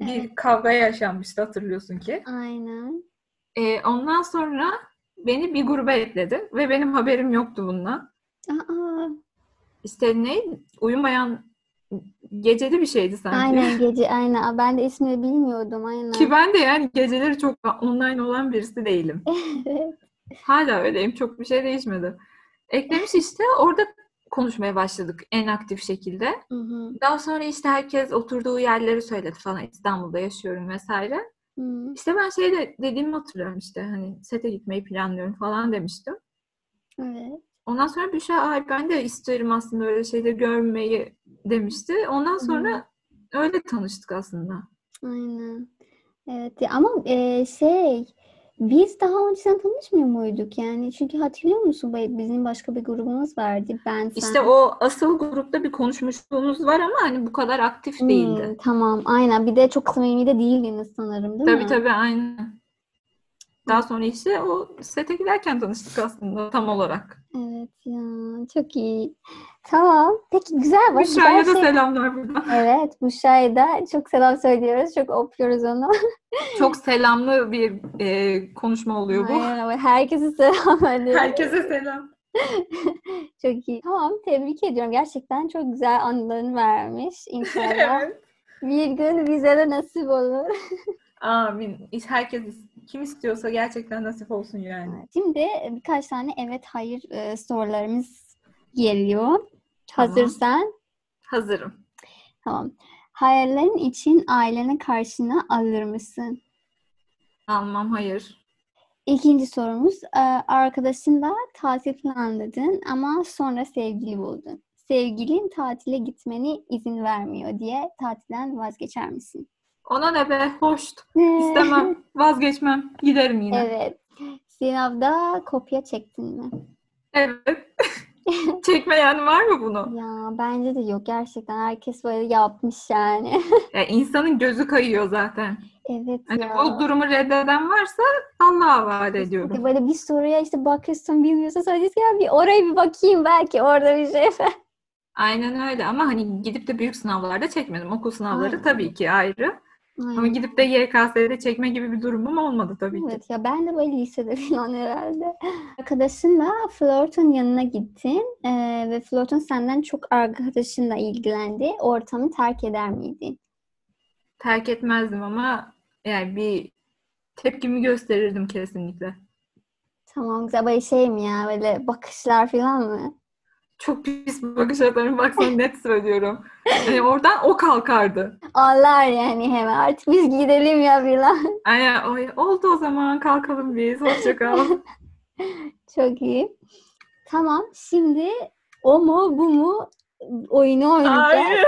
B: Bir kavga yaşanmıştı hatırlıyorsun ki.
A: Aynen.
B: Ee, ondan sonra beni bir gruba ekledi. Ve benim haberim yoktu bundan.
A: Aa,
B: İşte ne? Uyumayan geceli bir şeydi sanki.
A: Aynen gece aynen. Aa, Ben de ismini bilmiyordum aynen.
B: Ki ben de yani geceleri çok online olan birisi değilim.
A: Evet.
B: Hala öyleyim. Çok bir şey değişmedi. Eklemiş işte orada konuşmaya başladık en aktif şekilde.
A: Hı hı.
B: Daha sonra işte herkes oturduğu yerleri söyledi falan İstanbul'da yaşıyorum vesaire.
A: Hı.
B: İşte ben şey de dediğimi hatırlıyorum işte hani sete gitmeyi planlıyorum falan demiştim.
A: Evet.
B: Ondan sonra Büşra ay ben de isterim aslında öyle şeyleri görmeyi demişti. Ondan sonra öyle tanıştık aslında.
A: Aynen. Evet ya ama e, şey biz daha önceden tanışmıyor muyduk yani? Çünkü hatırlıyor musun Bay- bizim başka bir grubumuz vardı. Ben, sen.
B: İşte o asıl grupta bir konuşmuşluğumuz var ama hani bu kadar aktif
A: Hmm,
B: değildi.
A: tamam aynen. Bir de çok samimi de değildiniz sanırım değil
B: Tabii
A: mi?
B: tabii aynen. Daha sonra işte o sete giderken tanıştık aslında tam olarak.
A: Evet ya çok iyi. Tamam. Peki güzel bak.
B: Büşra'ya da
A: güzel şey-
B: selamlar buradan.
A: Evet Büşra'ya da çok selam söylüyoruz. Çok öpüyoruz onu.
B: Çok selamlı bir e, konuşma oluyor bu.
A: Aynen ama herkese selam ediyorum.
B: Herkese selam.
A: Çok iyi. Tamam tebrik ediyorum. Gerçekten çok güzel anılarını vermiş. İnşallah
B: Evet.
A: bir gün bize de nasip olur.
B: Amin. İş- Herkes kim istiyorsa gerçekten nasip olsun yani.
A: Şimdi birkaç tane evet hayır e, sorularımız geliyor.
B: Tamam.
A: Hazırsan.
B: Hazırım.
A: Tamam. Hayallerin için aileni karşına alır mısın?
B: Almam hayır.
A: İkinci sorumuz. e, Arkadaşınla tatil planladın ama sonra sevgili buldun. Sevgilin tatile gitmeni izin vermiyor diye tatilden vazgeçer misin?
B: Ona ne be? Hoşt.
A: Ne?
B: İstemem. Vazgeçmem. Giderim yine. Evet.
A: Evet. Sınavda kopya çektin mi?
B: Çekmeyen var mı bunu?
A: Ya bence de yok gerçekten. Herkes böyle yapmış yani.
B: Ya insanın gözü kayıyor zaten.
A: Evet
B: Hani
A: ya.
B: bu durumu reddeden varsa Allah'a vaat ediyorum.
A: Böyle bir soruya işte bakıyorsun bilmiyorsa söyleyeceksin ya bir oraya bir bakayım belki orada bir şey.
B: Aynen öyle ama hani gidip de büyük sınavlarda çekmedim. Okul sınavları
A: Aynen.
B: tabii ki ayrı. Ama
A: Aynen.
B: gidip de YKS'de çekme gibi bir durumum olmadı tabii ki.
A: Evet ya ben de böyle lisede falan herhalde. Arkadaşınla flörtün yanına gittin eee, ve flörtün senden çok arkadaşınla ilgilendi. Ortamı terk eder miydin?
B: Terk etmezdim ama yani bir tepkimi gösterirdim kesinlikle.
A: Tamam güzel böyle şey mi ya böyle bakışlar falan mı?
B: Çok pis bakış atarım bak sana net söylüyorum. Yani oradan o kalkardı.
A: Ağlar yani hemen artık biz gidelim ya falan.
B: Aynen o- Hani, oldu o zaman kalkalım biz hoşça kal.
A: Çok iyi. Tamam şimdi o mu bu mu oyunu oynayacağız.
B: Hayır.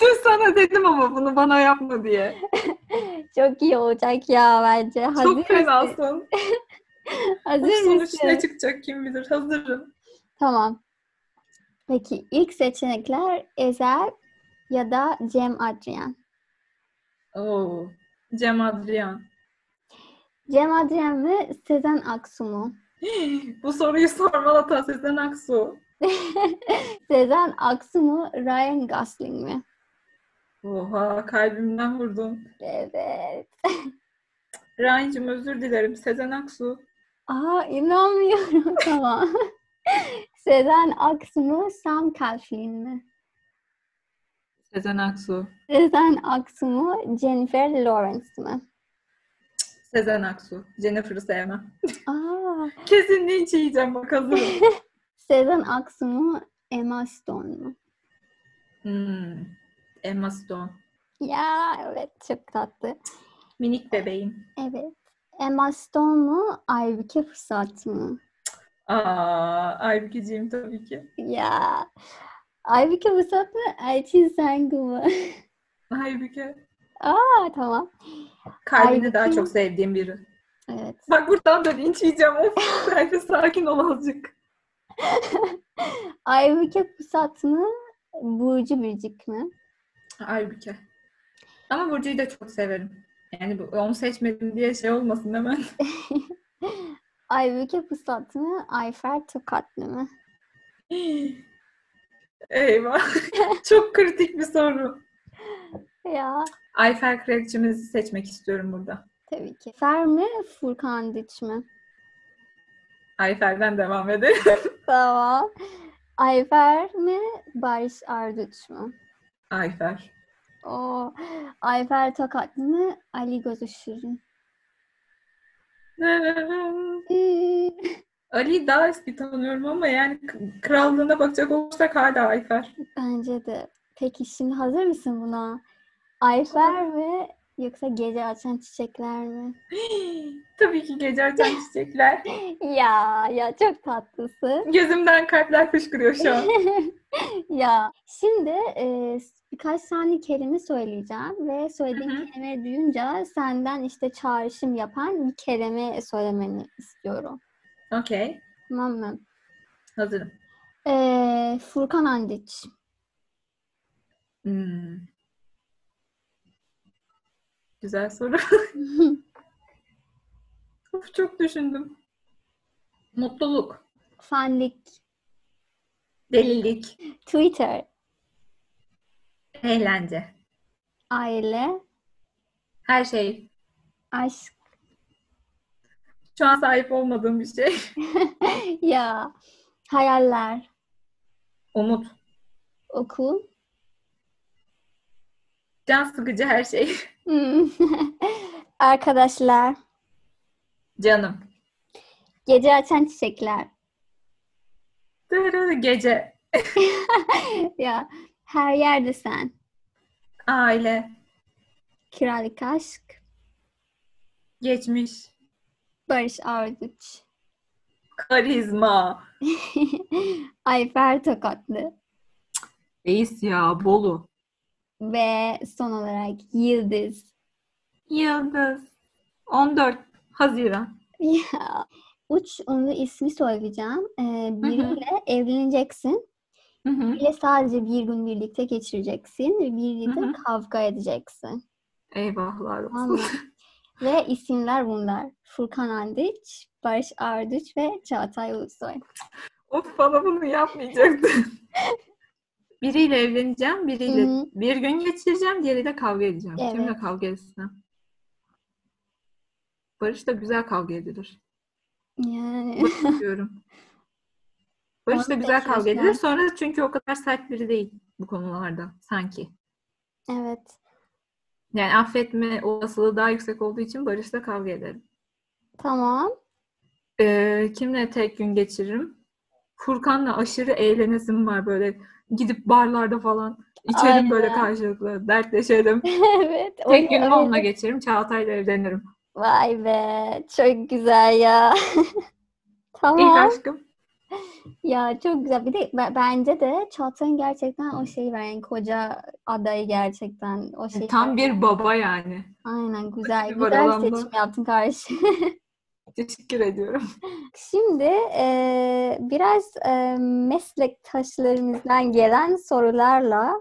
B: Dün sana dedim ama bunu bana yapma diye.
A: Çok iyi olacak ya bence. Hazır
B: Çok
A: mısın?
B: fenasın. Bu
A: Hazır
B: sonuç
A: mısın?
B: ne çıkacak kim bilir hazırım.
A: Tamam. Peki ilk seçenekler Ezel ya da Cem Adrian.
B: Oo. Cem Adrian.
A: Cem Adrian mı Sezen Aksu mu?
B: Bu soruyu sormalı hata Sezen Aksu.
A: Sezen Aksu mu Ryan Gosling mi?
B: Oha kalbimden vurdun.
A: Evet.
B: Ryan'cığım özür dilerim. Sezen Aksu.
A: Aa inanmıyorum. Tamam. Sezen Aksu mu Sam Claflin mi?
B: Sezen Aksu.
A: Sezen Aksu mu Jennifer Lawrence mi?
B: Sezen Aksu. Jennifer'ı sevmem.
A: Aa,
B: Kesin linç yiyeceğim bak hazırım.
A: Sezen Aksu mu Emma Stone mu?
B: Hmm. Emma Stone.
A: Ya evet çok tatlı.
B: Minik bebeğim.
A: Evet. Emma Stone mu Aybüke Fırsat mı?
B: Aa, Aybükeciğim tabii ki.
A: Ya Aybüke Fırsat mı Elçin Sengu mu?
B: Aybüke.
A: Aa tamam.
B: Kalbini
A: Aybüke.
B: daha çok sevdiğim biri.
A: Evet.
B: Bak buradan da linç yiyeceğim. Of. Herkes sakin ol azıcık.
A: Aybüke Fırsat mı Burcu Biricik mi?
B: Aybüke. Ama Burcu'yu da çok severim. Yani bu- onu seçmedim diye şey olmasın hemen.
A: Aybüke Fırsat mı Ayfer Tokatlı mı?
B: Eyvah. Çok kritik bir soru.
A: Ya
B: Ayfer Krekçimizi seçmek istiyorum burada.
A: tabii ki. Fer mi Furkan Diç mi?
B: Ayfer'den devam edelim.
A: Tamam. Ayfer mi Barış Arduç mu?
B: Ayfer.
A: O Ayfer Tokatlı mı Ali Gözü Şirin? Ee,
B: Ali daha eski tanıyorum ama yani k- krallığına bakacak olursak hala Ayfer.
A: Bence de. Peki şimdi hazır mısın buna? Ayfer ve Yoksa gece açan çiçekler mi?
B: Tabii ki gece açan çiçekler.
A: Ya ya çok tatlısın.
B: Gözümden kalpler fışkırıyor şu an.
A: ya şimdi e, birkaç tane kelime söyleyeceğim ve söylediğim
B: Hı hı.
A: kelimeleri duyunca senden işte çağrışım yapan bir kelime söylemeni istiyorum.
B: Okey.
A: Tamam mı?
B: Hazırım.
A: E, Furkan Andiç.
B: Hmm. Güzel soru. Of, çok düşündüm. Mutluluk.
A: Fanlik.
B: Delilik.
A: Twitter.
B: Eğlence.
A: Aile.
B: Her şey.
A: Aşk.
B: Şu an sahip olmadığım bir şey.
A: ya. Hayaller.
B: Umut.
A: Okul.
B: Can sıkıcı her şey.
A: Hmm. Arkadaşlar.
B: Canım.
A: Gece açan çiçekler.
B: Dırırı Gece.
A: ya her yerde sen.
B: Aile.
A: Kiralık aşk.
B: Geçmiş.
A: Barış Arduç.
B: Karizma.
A: Ayfer Tokatlı.
B: Reis ya. Bolu.
A: Ve son olarak Yıldız.
B: Yıldız. 14 Haziran.
A: Ya. Uç ünlü ismi söyleyeceğim. Ee, biriyle evleneceksin.
B: Hı hı.
A: Biriyle sadece bir gün birlikte geçireceksin. Ve biriyle
B: Hı
A: de
B: hı.
A: kavga edeceksin.
B: Eyvahlar
A: Tamam
B: olsun.
A: mı? ve isimler bunlar. Furkan Andiç, Barış Arduç ve Çağatay Ulusoy.
B: Of bana bunu yapmayacaktın. biriyle evleneceğim, biriyle
A: Hı hı.
B: bir gün geçireceğim, diğeriyle kavga edeceğim.
A: Evet.
B: Kimle kavga etsin? Barış da güzel kavga edilir.
A: Yani.
B: Barış diyorum. Barış da
A: Onu
B: güzel kavga
A: seçmişler.
B: edilir. Sonra çünkü o kadar sert biri değil bu konularda sanki.
A: Evet.
B: Yani affetme olasılığı daha yüksek olduğu için Barış'la kavga ederim.
A: Tamam.
B: Ee, kimle tek gün geçiririm? Furkan'la aşırı eğlenesim var böyle. Gidip barlarda falan içelim
A: Aynen.
B: böyle karşılıklı. Dertleşelim.
A: evet.
B: Tek
A: öyle-
B: günümü onunla
A: öyle-
B: geçiririm. Çağatay'la evlenirim.
A: Vay be. Çok güzel ya.
B: İlk
A: tamam.
B: aşkım.
A: Ya çok güzel. Bir de be- bence de Çağatay'ın gerçekten o şeyi var. Yani koca adayı gerçekten o şey.
B: E, Tam bir baba yani.
A: Aynen güzel.
B: bir var
A: Güzel
B: olan bu.
A: seçim yaptın karşı.
B: Teşekkür ediyorum.
A: Şimdi eee, biraz eee, meslektaşlarımızdan gelen sorularla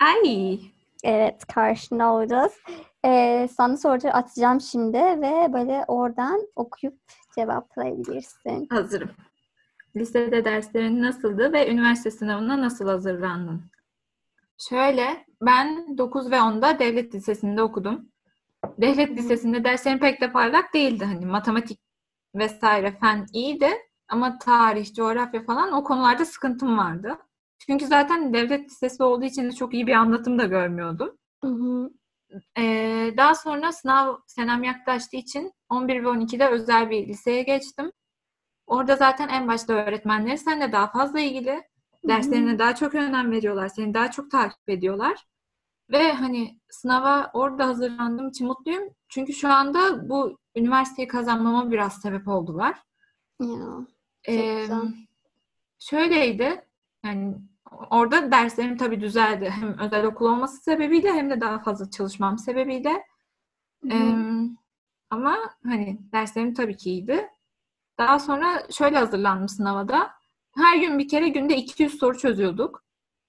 B: Ay.
A: Evet, karşında olacağız. Ee, sana soruları atacağım şimdi ve böyle oradan okuyup cevaplayabilirsin.
B: Hazırım. Lisede derslerin nasıldı ve üniversite sınavına nasıl hazırlandın? Şöyle, ben 9 ve 10'da devlet lisesinde okudum. Devlet lisesinde derslerim pek de parlak değildi. Hani matematik vesaire fen iyiydi ama tarih, coğrafya falan o konularda sıkıntım vardı. Çünkü zaten devlet lisesi olduğu için de çok iyi bir anlatım da görmüyordum.
A: Hı-hı.
B: Ee, daha sonra sınav senem yaklaştığı için 11 ve 12'de özel bir liseye geçtim. Orada zaten en başta öğretmenleri seninle daha fazla ilgili. Derslerine daha çok önem veriyorlar. Seni daha çok takip ediyorlar. Ve hani sınava orada hazırlandığım için mutluyum. Çünkü şu anda bu üniversiteyi kazanmama biraz sebep oldular.
A: Ya. Çok
B: Ee,
A: güzel.
B: şöyleydi. Yani orada derslerim tabii düzeldi. Hem özel okul olması sebebiyle hem de daha fazla çalışmam sebebiyle.
A: Hı-hı.
B: Em, ama hani derslerim tabii ki iyiydi. Daha sonra şöyle hazırlandım sınava da. Her gün bir kere günde 200 soru çözüyorduk.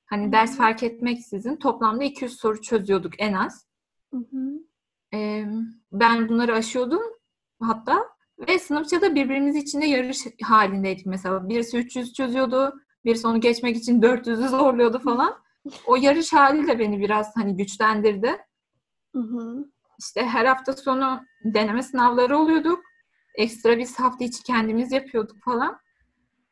B: Hani ders
A: Hı.
B: fark etmeksizin toplamda 200 soru çözüyorduk en az.
A: Hı-hı.
B: Em, ben bunları aşıyordum hatta. Ve sınıfça da birbirimiz içinde yarış halindeydik mesela. Birisi 300 çözüyordu, birisi onu geçmek için 400'ü zorluyordu falan. O yarış hali de beni biraz hani güçlendirdi.
A: Hı-hı.
B: İşte her hafta sonu deneme sınavları oluyorduk. Ekstra biz hafta içi kendimiz yapıyorduk falan.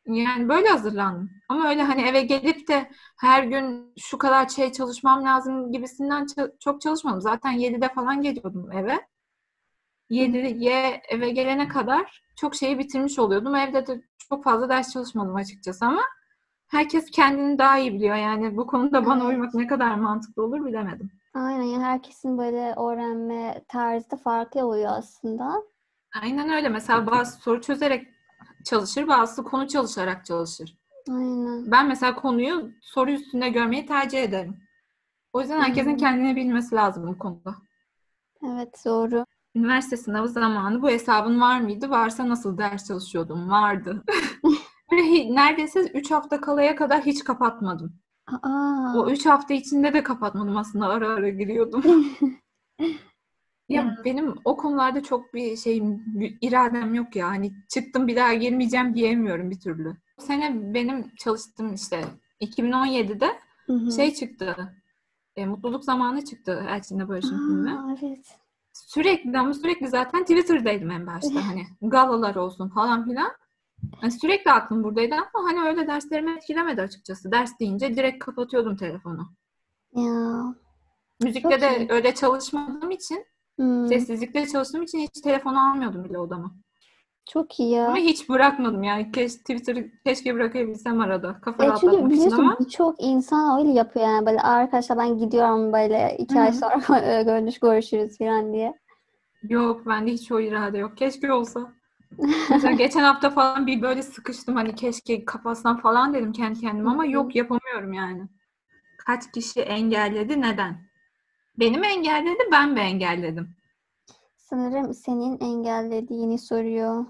B: Yani böyle hazırlandım. Ama öyle hani eve gelip de her gün şu kadar şey çalışmam lazım gibisinden ça- çok çalışmadım. Zaten 7'de falan geliyordum eve. 7'ye eve gelene kadar çok şeyi bitirmiş oluyordum. Evde de çok fazla ders çalışmadım açıkçası ama herkes kendini daha iyi biliyor. Yani bu konuda bana
A: Evet.
B: uymak ne kadar mantıklı olur bilemedim.
A: Aynen yani herkesin böyle öğrenme tarzı da farklı oluyor aslında.
B: Aynen öyle. Mesela bazı soru çözerek çalışır, bazısı konu çalışarak çalışır.
A: Aynen.
B: Ben mesela konuyu soru üstünde görmeyi tercih ederim. O yüzden herkesin
A: Hmm.
B: kendini bilmesi lazım bu konuda.
A: Evet doğru.
B: Üniversite sınavı zamanı bu hesabın var mıydı? Varsa nasıl ders çalışıyordum? Vardı. Ve hi- neredeyse 3 hafta kalaya kadar hiç kapatmadım.
A: Aa.
B: O 3 hafta içinde de kapatmadım aslında ara ara giriyordum. Ya benim o konularda çok bir şeyim, bir iradem yok ya. Hani çıktım bir daha girmeyeceğim diyemiyorum bir türlü. Bu sene benim çalıştığım işte 2017'de
A: Hı hı.
B: şey çıktı. E, Mutluluk Zamanı çıktı Elçin'le Barış'ın filmi.
A: Aa, evet.
B: Sürekli ama sürekli zaten Twitter'daydım en başta hani galalar olsun falan filan. Hani sürekli aklım buradaydı ama hani öyle derslerimi etkilemedi açıkçası. Ders deyince direkt kapatıyordum telefonu.
A: Ya.
B: Müzikte
A: Çok
B: de
A: iyi.
B: öyle çalışmadığım için,
A: Hmm,
B: sessizlikte çalıştığım için hiç telefonu almıyordum bile odama.
A: Çok iyi ya.
B: Ama hiç bırakmadım yani. Keş, Twitter'ı keşke bırakabilsem arada. Kafa
A: E çünkü
B: rahatlatmak için
A: biliyorsun
B: ama.
A: birçok insan öyle yapıyor yani böyle "Aa, arkadaşlar ben gidiyorum böyle iki ay
B: Hı hı.
A: sonra görüş görüşürüz falan diye.
B: Yok bende hiç o irade yok. Keşke olsa. Mesela geçen hafta falan bir böyle sıkıştım hani keşke kapatsam falan dedim kendi kendime ama
A: Hı hı.
B: yok yapamıyorum yani. Kaç kişi engelledi neden? Beni mi engelledi ben mi engelledim?
A: Sanırım senin engellediğini soruyor.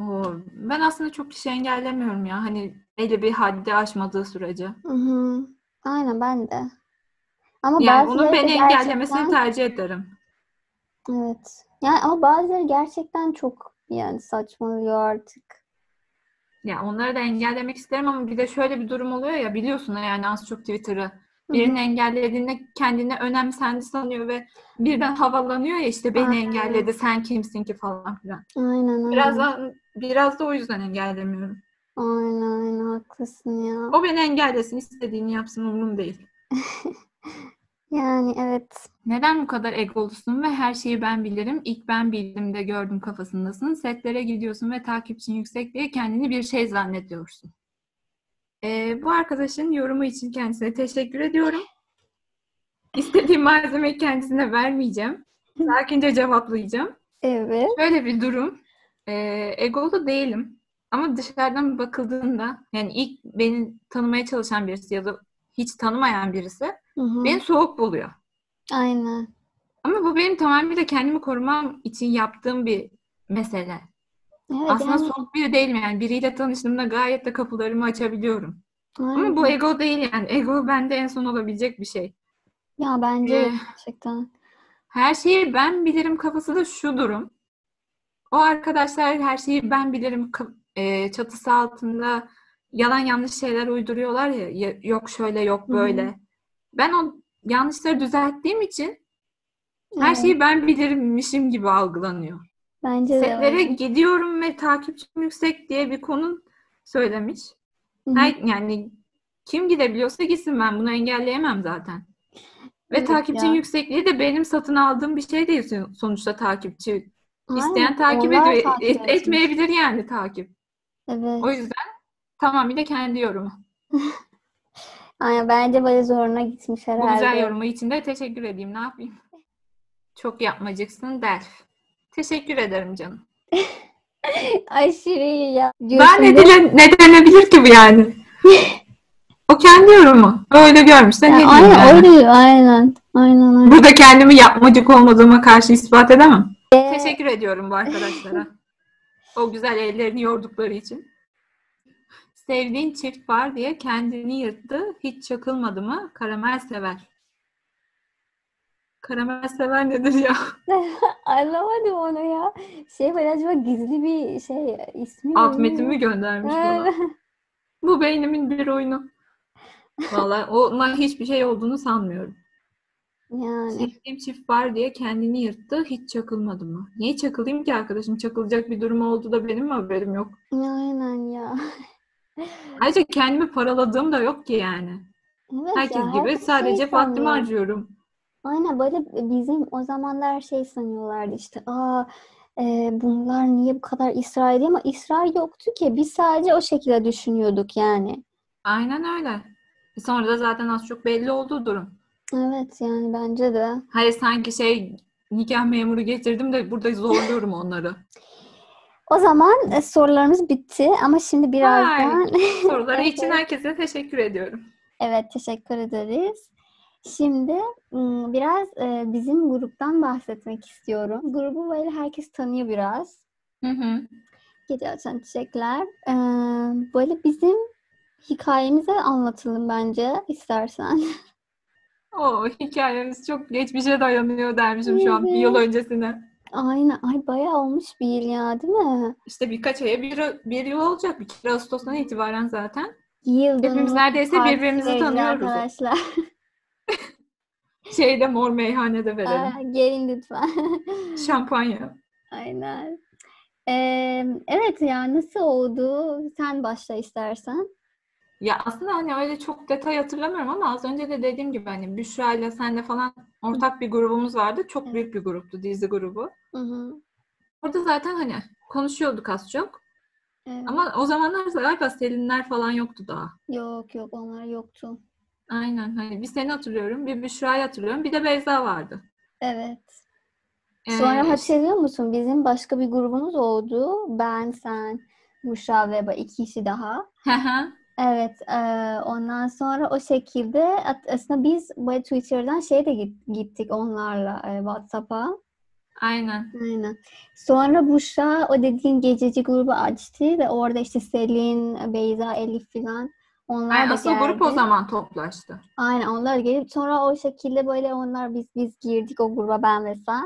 B: Oo, ben aslında çok kişi engellemiyorum ya hani belli bir haddi aşmadığı sürece.
A: Hı hı. Aynen ben de. Ama
B: Yani onun
A: bazıları da
B: beni engellemesini
A: gerçekten
B: tercih ederim.
A: evet. Yani ama bazıları gerçekten çok yani saçmalıyor artık.
B: Ya onları da engellemek isterim ama bir de şöyle bir durum oluyor ya biliyorsun yani az çok Twitter'ı.
A: Hı hı.
B: Birini engellediğinde kendini önemsendi sanıyor ve birden havalanıyor ya işte beni
A: Aynen,
B: engelledi sen kimsin ki falan filan.
A: aynen,
B: Biraz
A: aynen.
B: da, biraz da o yüzden engellemiyorum.
A: Aynen, aynen haklısın ya.
B: O beni engellesin istediğini yapsın umurum değil.
A: Yani evet.
B: Neden bu kadar egolusun ve her şeyi ben bilirim, ilk ben bildim de gördüm kafasındasın. Setlere gidiyorsun ve takipçin yüksek diye kendini bir şey zannediyorsun. Ee, bu arkadaşın yorumu için kendisine teşekkür ediyorum. İstediğim malzemeyi kendisine vermeyeceğim. Sakince cevaplayacağım.
A: Evet.
B: Şöyle bir durum. Ee, egolu değilim. Ama dışarıdan bakıldığında yani ilk beni tanımaya çalışan birisi ya da hiç tanımayan birisi
A: Hı hı.
B: beni soğuk buluyor.
A: Aynen.
B: Ama bu benim tamamıyla kendimi korumam için yaptığım bir mesele.
A: Evet
B: Aslında
A: yani
B: soğuk biri değilim yani. Biriyle tanıştığımda gayet de kapılarımı açabiliyorum. Ama bu
A: aynen.
B: ego değil yani. Ego bende en son olabilecek bir şey.
A: Ya bence
B: Ee,
A: de gerçekten.
B: Her şeyi ben bilirim kafası da şu durum. O arkadaşlar her şeyi ben bilirim ka- e, çatısı altında yalan yanlış şeyler uyduruyorlar ya. ya- Yok şöyle yok
A: Hı hı.
B: böyle. Ben o yanlışları düzelttiğim için her
A: Evet.
B: şeyi ben bilirmişim gibi algılanıyor.
A: Bence de
B: Setlere
A: öyle.
B: gidiyorum ve takipçim yüksek diye bir konu söylemiş.
A: Hı hı.
B: Her, yani kim gidebiliyorsa gitsin ben bunu engelleyemem zaten. Ve
A: Evet
B: takipçinin
A: ya.
B: yüksekliği de benim satın aldığım bir şey değil son- sonuçta takipçi.
A: Aynen.
B: isteyen takip
A: Onlar
B: ediyor.
A: takip
B: Et-
A: etmiş.
B: etmeyebilir yani takip. O
A: Evet.
B: yüzden tamamıyla kendi yorumu.
A: Aynen bence böyle zoruna gitmiş
B: Bu güzel
A: herhalde.
B: yorumu için de teşekkür edeyim. Ne yapayım? Çok yapmacıksın Delf. Teşekkür ederim canım.
A: Aşırı iyi ya.
B: Daha
A: Diyorsun
B: ne,
A: değil mi?
B: dile, ne denebilir ki bu yani? O kendi yorumu. Öyle görmüşse
A: Ya
B: ne diyeyim
A: aynen
B: yani.
A: öyle aynen. Aynen aynen.
B: Burada kendimi yapmacık olmadığıma karşı ispat edemem.
A: Ee,
B: Teşekkür ediyorum bu arkadaşlara. O güzel ellerini yordukları için. Sevdiğin çift var diye kendini yırttı. Hiç çakılmadı mı? Karamel sever. Karamel sever nedir ya?
A: Anlamadım onu ya. Şey böyle acaba gizli bir şey ismi mi
B: Alt
A: bilmiyorum.
B: metimi göndermiş bana. Bu beynimin bir oyunu. Vallahi ona hiçbir şey olduğunu sanmıyorum.
A: Yani
B: Sevdiğim çift var diye kendini yırttı. Hiç çakılmadı mı? Niye çakılayım ki arkadaşım? Çakılacak bir durum oldu da benim mi haberim yok?
A: aynen ya.
B: Ayrıca kendimi paraladığım da yok ki yani.
A: Evet
B: Herkes
A: ya
B: gibi
A: herkes şey
B: sadece vaktimi
A: sanıyor.
B: harcıyorum.
A: Aynen böyle bizim o zamanlar şey sanıyorlardı işte aa e, bunlar niye bu kadar İsrail ama İsrail yoktu ki biz sadece o şekilde düşünüyorduk yani.
B: E Aynen öyle. Sonra da zaten az çok belli olduğu durum.
A: Evet yani bence de.
B: Hayır sanki şey nikah memuru getirdim de burada zorluyorum onları.
A: O zaman e, sorularımız bitti ama şimdi birazdan
B: Soruları için herkese teşekkür ediyorum.
A: evet teşekkür ederiz. Şimdi m, biraz e, bizim gruptan bahsetmek istiyorum. Grubu böyle herkes tanıyor biraz.
B: Hı hı.
A: Gece Açan Çiçekler. Ee, böyle bizim hikayemize anlatalım bence istersen.
B: Oo, Oh, hikayemiz çok geçmişe dayanıyor dermişim şu an bir yıl öncesine.
A: Aynen. Ay bayağı olmuş bir yıl ya değil mi?
B: İşte birkaç aya bir, bir yıl olacak. Bir kere Ağustos'tan itibaren zaten.
A: Yıl
B: Hepimiz
A: dönümü
B: neredeyse
A: partisi
B: birbirimizi
A: vereceğiz
B: tanıyoruz.
A: Arkadaşlar.
B: Şeyde mor meyhanede verelim.
A: Aa, gelin lütfen.
B: Şampanya.
A: Aynen. Ee, evet ya nasıl oldu? Sen başla istersen.
B: Ya aslında hani öyle çok detay hatırlamıyorum ama az önce de dediğim gibi hani Büşra ile senle falan ortak bir grubumuz vardı. Çok büyük bir gruptu dizi grubu.
A: Hı hı.
B: Orada zaten hani konuşuyorduk az çok.
A: Evet.
B: Ama o zamanlar galiba Selinler falan yoktu daha.
A: Yok yok onlar yoktu.
B: Aynen hani bir seni hatırlıyorum, bir Büşra'yı hatırlıyorum, bir de Beyza vardı.
A: Evet.
B: Ee,
A: Sonra hatırlıyor musun? Bizim başka bir grubumuz oldu. Ben, sen, Büşra ve ba- iki kişi daha.
B: Hı hı.
A: Evet. e, ondan sonra o şekilde at- aslında biz böyle Twitter'dan şeye de git- gittik onlarla e, WhatsApp'a.
B: Aynen.
A: Aynen. Sonra Büşra o dediğin gececi grubu açtı ve orada işte Selin, Beyza, Elif filan onlar
B: Yani
A: da
B: asıl grup o
A: geldi.
B: zaman toplaştı.
A: Aynen onlar gelip sonra o şekilde böyle onlar biz biz girdik o gruba ben ve sen.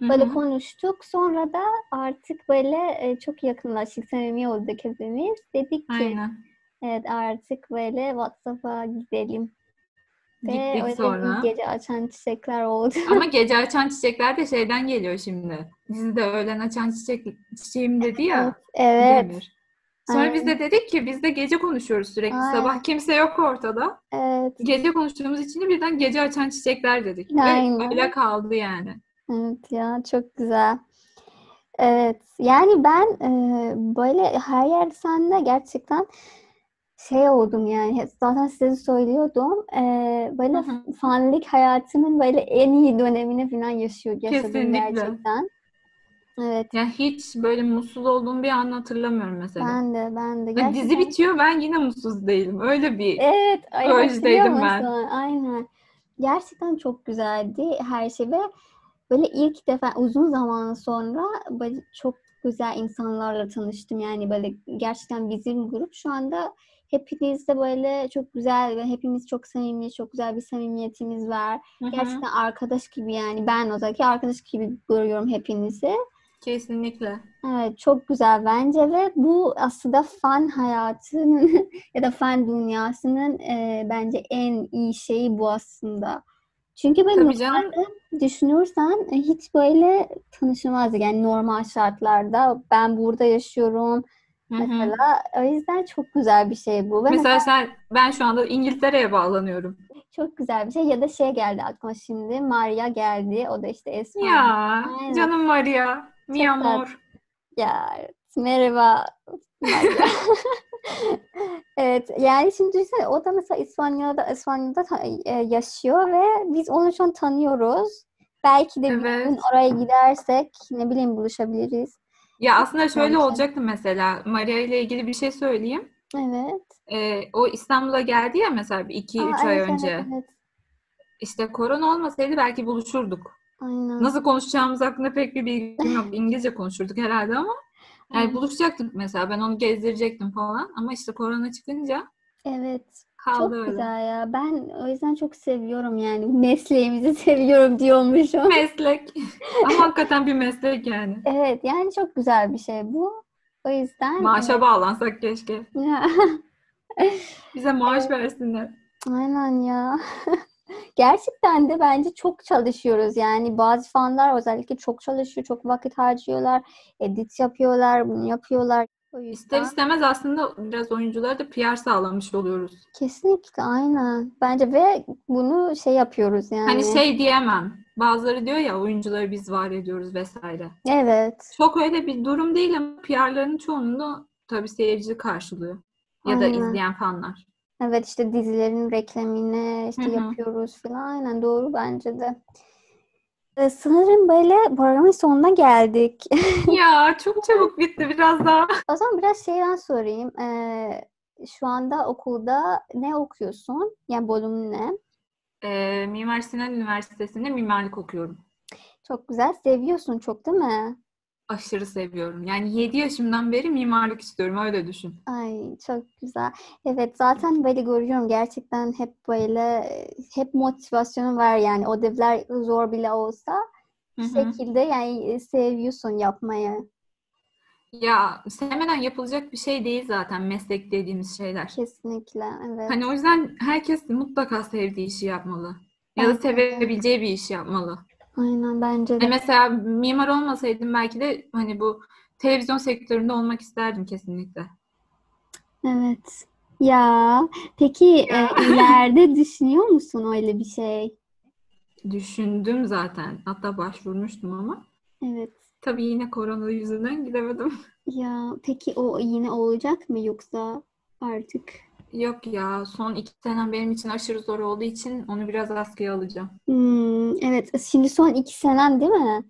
B: Hı
A: Böyle
B: hı.
A: konuştuk. Sonra da artık böyle e, çok yakınlaştık. Samimi olduk hepimiz. Dedik ki
B: Aynen.
A: evet artık böyle WhatsApp'a gidelim. Ve
B: Gittik
A: öyle
B: sonra.
A: bir gece açan çiçekler oldu.
B: Ama gece açan çiçekler de şeyden geliyor şimdi. Dizide öğlen açan çiçek çiçeğim dedi ya.
A: Evet.
B: Demir. Sonra
A: Aynen.
B: biz de dedik ki biz de gece konuşuyoruz sürekli.
A: Aynen.
B: Sabah kimse yok ortada.
A: Evet.
B: Gece konuştuğumuz için de birden gece açan çiçekler dedik.
A: Aynen.
B: Ve öyle kaldı yani.
A: Evet ya çok güzel. Evet yani ben e, böyle her yer sende gerçekten şey oldum yani hep- zaten size söylüyordum e, böyle
B: Hı hı.
A: fanlık hayatımın böyle en iyi dönemini falan yaşıyor yaşadım
B: Kesinlikle.
A: gerçekten. Evet
B: Ya hiç böyle mutsuz olduğum bir an hatırlamıyorum mesela.
A: ben de ben de
B: Hani dizi
A: gerçekten.
B: bitiyor ben yine mutsuz değilim. Öyle bir
A: Evet, ay
B: Psikolojideydim
A: hatırlıyor
B: ben.
A: musun? Aynen. Gerçekten çok güzeldi her şey ve böyle ilk defa uzun zaman sonra böyle çok güzel insanlarla tanıştım. Yani böyle gerçekten bizim grup şu anda hepiniz de böyle çok güzel ve hepimiz çok samimi, çok güzel bir samimiyetimiz var.
B: Hı hı.
A: Gerçekten arkadaş gibi yani ben Ozaki arkadaş gibi görüyorum hepinizi.
B: Kesinlikle.
A: Evet çok güzel bence ve bu aslında fan hayatının ya da fan dünyasının e, bence en iyi şeyi bu aslında. Çünkü ben
B: Tabii canım.
A: düşünürsen e, hiç böyle tanışılmazdı yani normal şartlarda ben burada yaşıyorum
B: Hı hı.
A: mesela. O yüzden çok güzel bir şey bu ve mesela
B: Mesela sen ben şu anda İngiltere'ye bağlanıyorum.
A: çok güzel bir şey ya da şey geldi aklıma şimdi Maria geldi o da işte Esma.
B: Ya
A: Aynen.
B: canım Maria. Mi
A: tatlı.
B: amor.
A: Ya merhaba. Merhaba. Evet yani şimdi düşünsene, o da mesela İspanya'da İspanya'da ta- e, yaşıyor ve biz onu şu an tanıyoruz. Belki de bir
B: Evet.
A: gün oraya gidersek ne bileyim buluşabiliriz.
B: Ya aslında şöyle
A: Bence.
B: olacaktı mesela. Maria ile ilgili bir şey söyleyeyim.
A: Evet.
B: Ee, o İstanbul'a geldi ya mesela bir iki
A: Aa,
B: üç ay
A: evet, evet,
B: önce.
A: evet.
B: İşte korona olmasaydı belki buluşurduk.
A: Aynen.
B: Nasıl konuşacağımız hakkında pek bir bilgim yok. İngilizce konuşurduk herhalde ama yani
A: Aynen.
B: buluşacaktık mesela. Ben onu gezdirecektim falan ama işte korona çıkınca
A: Evet.
B: kaldı
A: Çok
B: öyle.
A: güzel ya. Ben o yüzden çok seviyorum yani. Mesleğimizi seviyorum diyormuşum.
B: Meslek. Ama hakikaten bir meslek yani.
A: Evet yani çok güzel bir şey bu. O yüzden
B: Maaşa bağlansak keşke.
A: Ya.
B: Bize maaş versinler.
A: Aynen ya. Gerçekten de bence çok çalışıyoruz. Yani bazı fanlar özellikle çok çalışıyor, çok vakit harcıyorlar, edit yapıyorlar, bunu yapıyorlar. O
B: İster
A: yüzden
B: istemez aslında biraz oyunculara da PR sağlamış oluyoruz.
A: kesinlikle aynen. Bence ve bunu şey yapıyoruz yani.
B: Hani şey diyemem. Bazıları diyor ya oyuncuları biz var ediyoruz vesaire.
A: Evet.
B: Çok öyle bir durum değil ama PR'ların çoğunluğu tabii seyirci karşılıyor. Ya da
A: Aynen.
B: izleyen fanlar.
A: Evet işte dizilerin reklamını işte
B: Hı hı.
A: yapıyoruz falan. Aynen doğru bence de. Ee, Sanırım böyle programın sonuna geldik.
B: ya çok çabuk bitti biraz daha.
A: O zaman biraz şeyden sorayım. Ee, şu anda okulda ne okuyorsun? Yani bölüm ne?
B: Ee, Mimar Sinan Üniversitesi'nde mimarlık okuyorum.
A: Çok güzel. Seviyorsun çok değil mi?
B: Aşırı seviyorum. Yani 7 yaşımdan beri mimarlık istiyorum öyle düşün.
A: Ay çok güzel. Evet zaten böyle görüyorum gerçekten hep böyle e, hep motivasyonu var yani ödevler zor bile olsa bir
B: Hı hı.
A: şekilde yani e, seviyorsun yapmayı.
B: Ya sevmeden yapılacak bir şey değil zaten meslek dediğimiz şeyler.
A: Kesinlikle evet.
B: Hani o yüzden herkes mutlaka sevdiği işi yapmalı. Ya da
A: Bence de.
B: sevebileceği bir işi yapmalı.
A: Aynen bence
B: Hani
A: de.
B: mesela mimar olmasaydım belki de hani bu televizyon sektöründe olmak isterdim kesinlikle.
A: Evet. Ya peki e, ileride düşünüyor musun öyle bir şey?
B: Düşündüm zaten. Hatta başvurmuştum ama
A: Evet.
B: tabii yine korona yüzünden gidemedim.
A: Ya peki o yine olacak mı yoksa artık?
B: Yok ya son iki senem benim için aşırı zor olduğu için onu biraz askıya alacağım.
A: Hmm, evet. Şimdi son iki senen değil mi?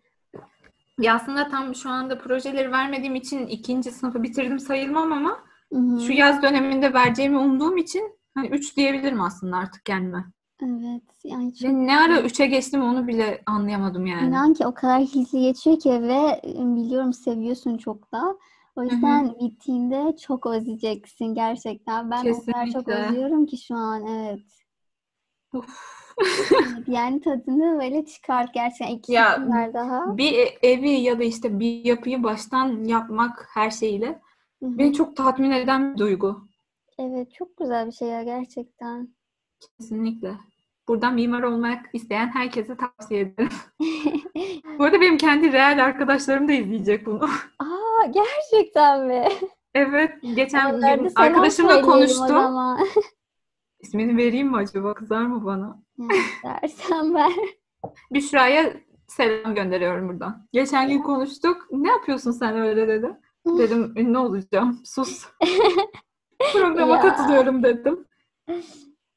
B: Ya aslında tam şu anda projeleri vermediğim için ikinci sınıfı bitirdim sayılmam ama
A: Hı hı.
B: şu yaz döneminde vereceğimi umduğum için hani üç diyebilirim aslında artık kendime.
A: Evet. Yani çok
B: Ve ne ara üçe geçtim onu bile anlayamadım yani.
A: inan ki o kadar hızlı geçiyor ki ve e, biliyorum seviyorsun çok da. O
B: hı.
A: yüzden bittiğinde çok özleyeceksin gerçekten. Ben o kadar çok
B: Kesinlikle.
A: özlüyorum ki şu an evet.
B: Uf.
A: Evet, Yani tadını böyle çıkart gerçekten. İki
B: Ya,
A: sefer daha.
B: Bir e- evi ya da işte bir yapıyı baştan yapmak her şeyle
A: Hı hı.
B: beni çok tatmin eden bir duygu.
A: Evet çok güzel bir şey ya gerçekten.
B: Kesinlikle. Buradan mimar olmak isteyen herkese tavsiye ederim. Bu arada benim kendi real arkadaşlarım da izleyecek bunu.
A: Aa gerçekten mi?
B: Evet, geçen
A: Onlara da
B: gün
A: selam
B: arkadaşımla
A: söyleyelim o
B: konuştum.
A: zaman.
B: İsmini vereyim mi acaba? Kızar mı bana?
A: Yani dersen ver.
B: Büşra'ya selam gönderiyorum buradan. Geçen gün konuştuk. Ne yapıyorsun sen öyle dedi. Dedim ünlü olacağım. Sus. Programa
A: Ya.
B: katılıyorum dedim.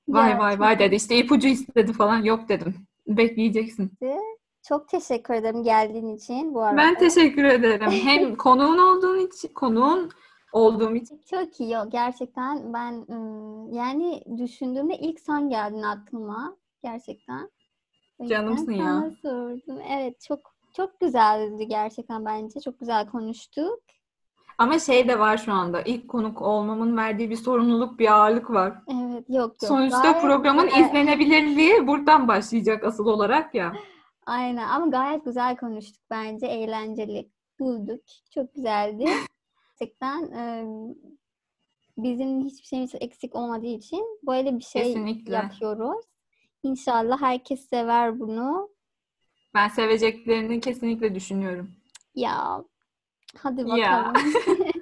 B: Vay
A: Ya,
B: vay vay dedi. İşte ipucu istedi falan. Yok dedim. Bekleyeceksin.
A: Çok teşekkür ederim geldiğin için bu arada.
B: Ben teşekkür ederim. Hem konuğun olduğun için, konuğun olduğum için.
A: Çok iyi. Yo, Gerçekten ben ım, yani düşündüğümde ilk sen geldin aklıma. Gerçekten. O yüzden
B: Canımsın ya.
A: sana sordum. Evet çok çok güzeldi gerçekten bence. Çok güzel konuştuk.
B: Ama şey de var şu anda. İlk konuk olmamın verdiği bir sorumluluk, bir ağırlık var.
A: Evet yok yok.
B: Sonuçta
A: Gayet
B: programın
A: güzel.
B: izlenebilirliği buradan başlayacak asıl olarak ya.
A: Aynen ama gayet güzel konuştuk bence. Eğlenceli bulduk. Çok güzeldi. Gerçekten ım, bizim hiçbir şeyimiz eksik olmadığı için böyle bir şey
B: Kesinlikle.
A: yapıyoruz. İnşallah herkes sever bunu.
B: Ben seveceklerini kesinlikle düşünüyorum.
A: Ya hadi
B: Ya.
A: bakalım.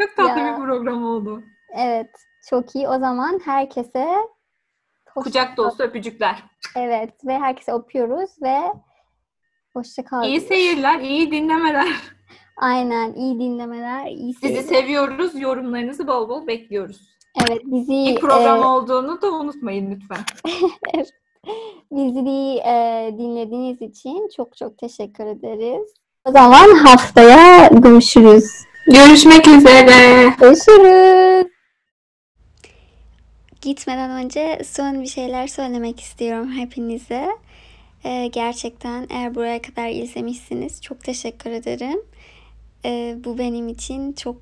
B: Çok tatlı
A: Ya.
B: bir program oldu.
A: Evet, çok iyi. O zaman herkese hoşça
B: Kucak
A: kal-
B: dolusu öpücükler.
A: Evet ve herkese öpüyoruz ve hoşça kal.
B: İyi seyirler, iyi dinlemeler.
A: Aynen, iyi dinlemeler, iyi
B: Sizi
A: seyirler.
B: seviyoruz. Yorumlarınızı bol bol bekliyoruz.
A: Evet, bizi
B: İlk program
A: e,
B: olduğunu da unutmayın lütfen.
A: bizi e, dinlediğiniz için çok çok teşekkür ederiz. O zaman haftaya görüşürüz.
B: Görüşmek üzere.
A: Görüşürüz. Gitmeden önce son bir şeyler söylemek istiyorum hepinize. Ee, gerçekten eğer buraya kadar izlemişsiniz çok teşekkür ederim. Ee, bu benim için çok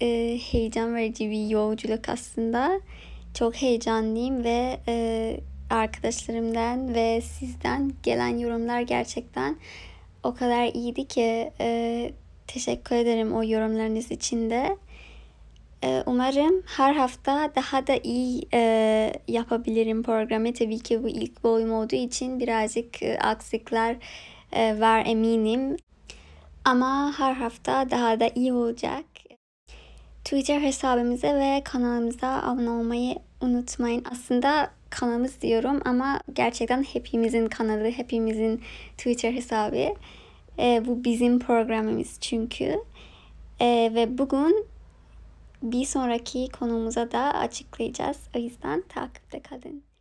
A: e, heyecan verici bir yolculuk aslında. Çok heyecanlıyım ve e, arkadaşlarımdan ve sizden gelen yorumlar gerçekten o kadar iyiydi ki e, teşekkür ederim o yorumlarınız için de. Ee, Umarım her hafta daha da iyi e, yapabilirim programı. Tabii ki bu ilk boyum olduğu için birazcık e, aksikler e, var eminim. Ama her hafta daha da iyi olacak. Twitter hesabımıza ve kanalımıza abone olmayı unutmayın. Aslında kanalımız diyorum ama gerçekten hepimizin kanalı, hepimizin Twitter hesabı. E, bu bizim programımız çünkü. E, ve bugün bir sonraki konumuza da açıklayacağız. O yüzden takipte kalın.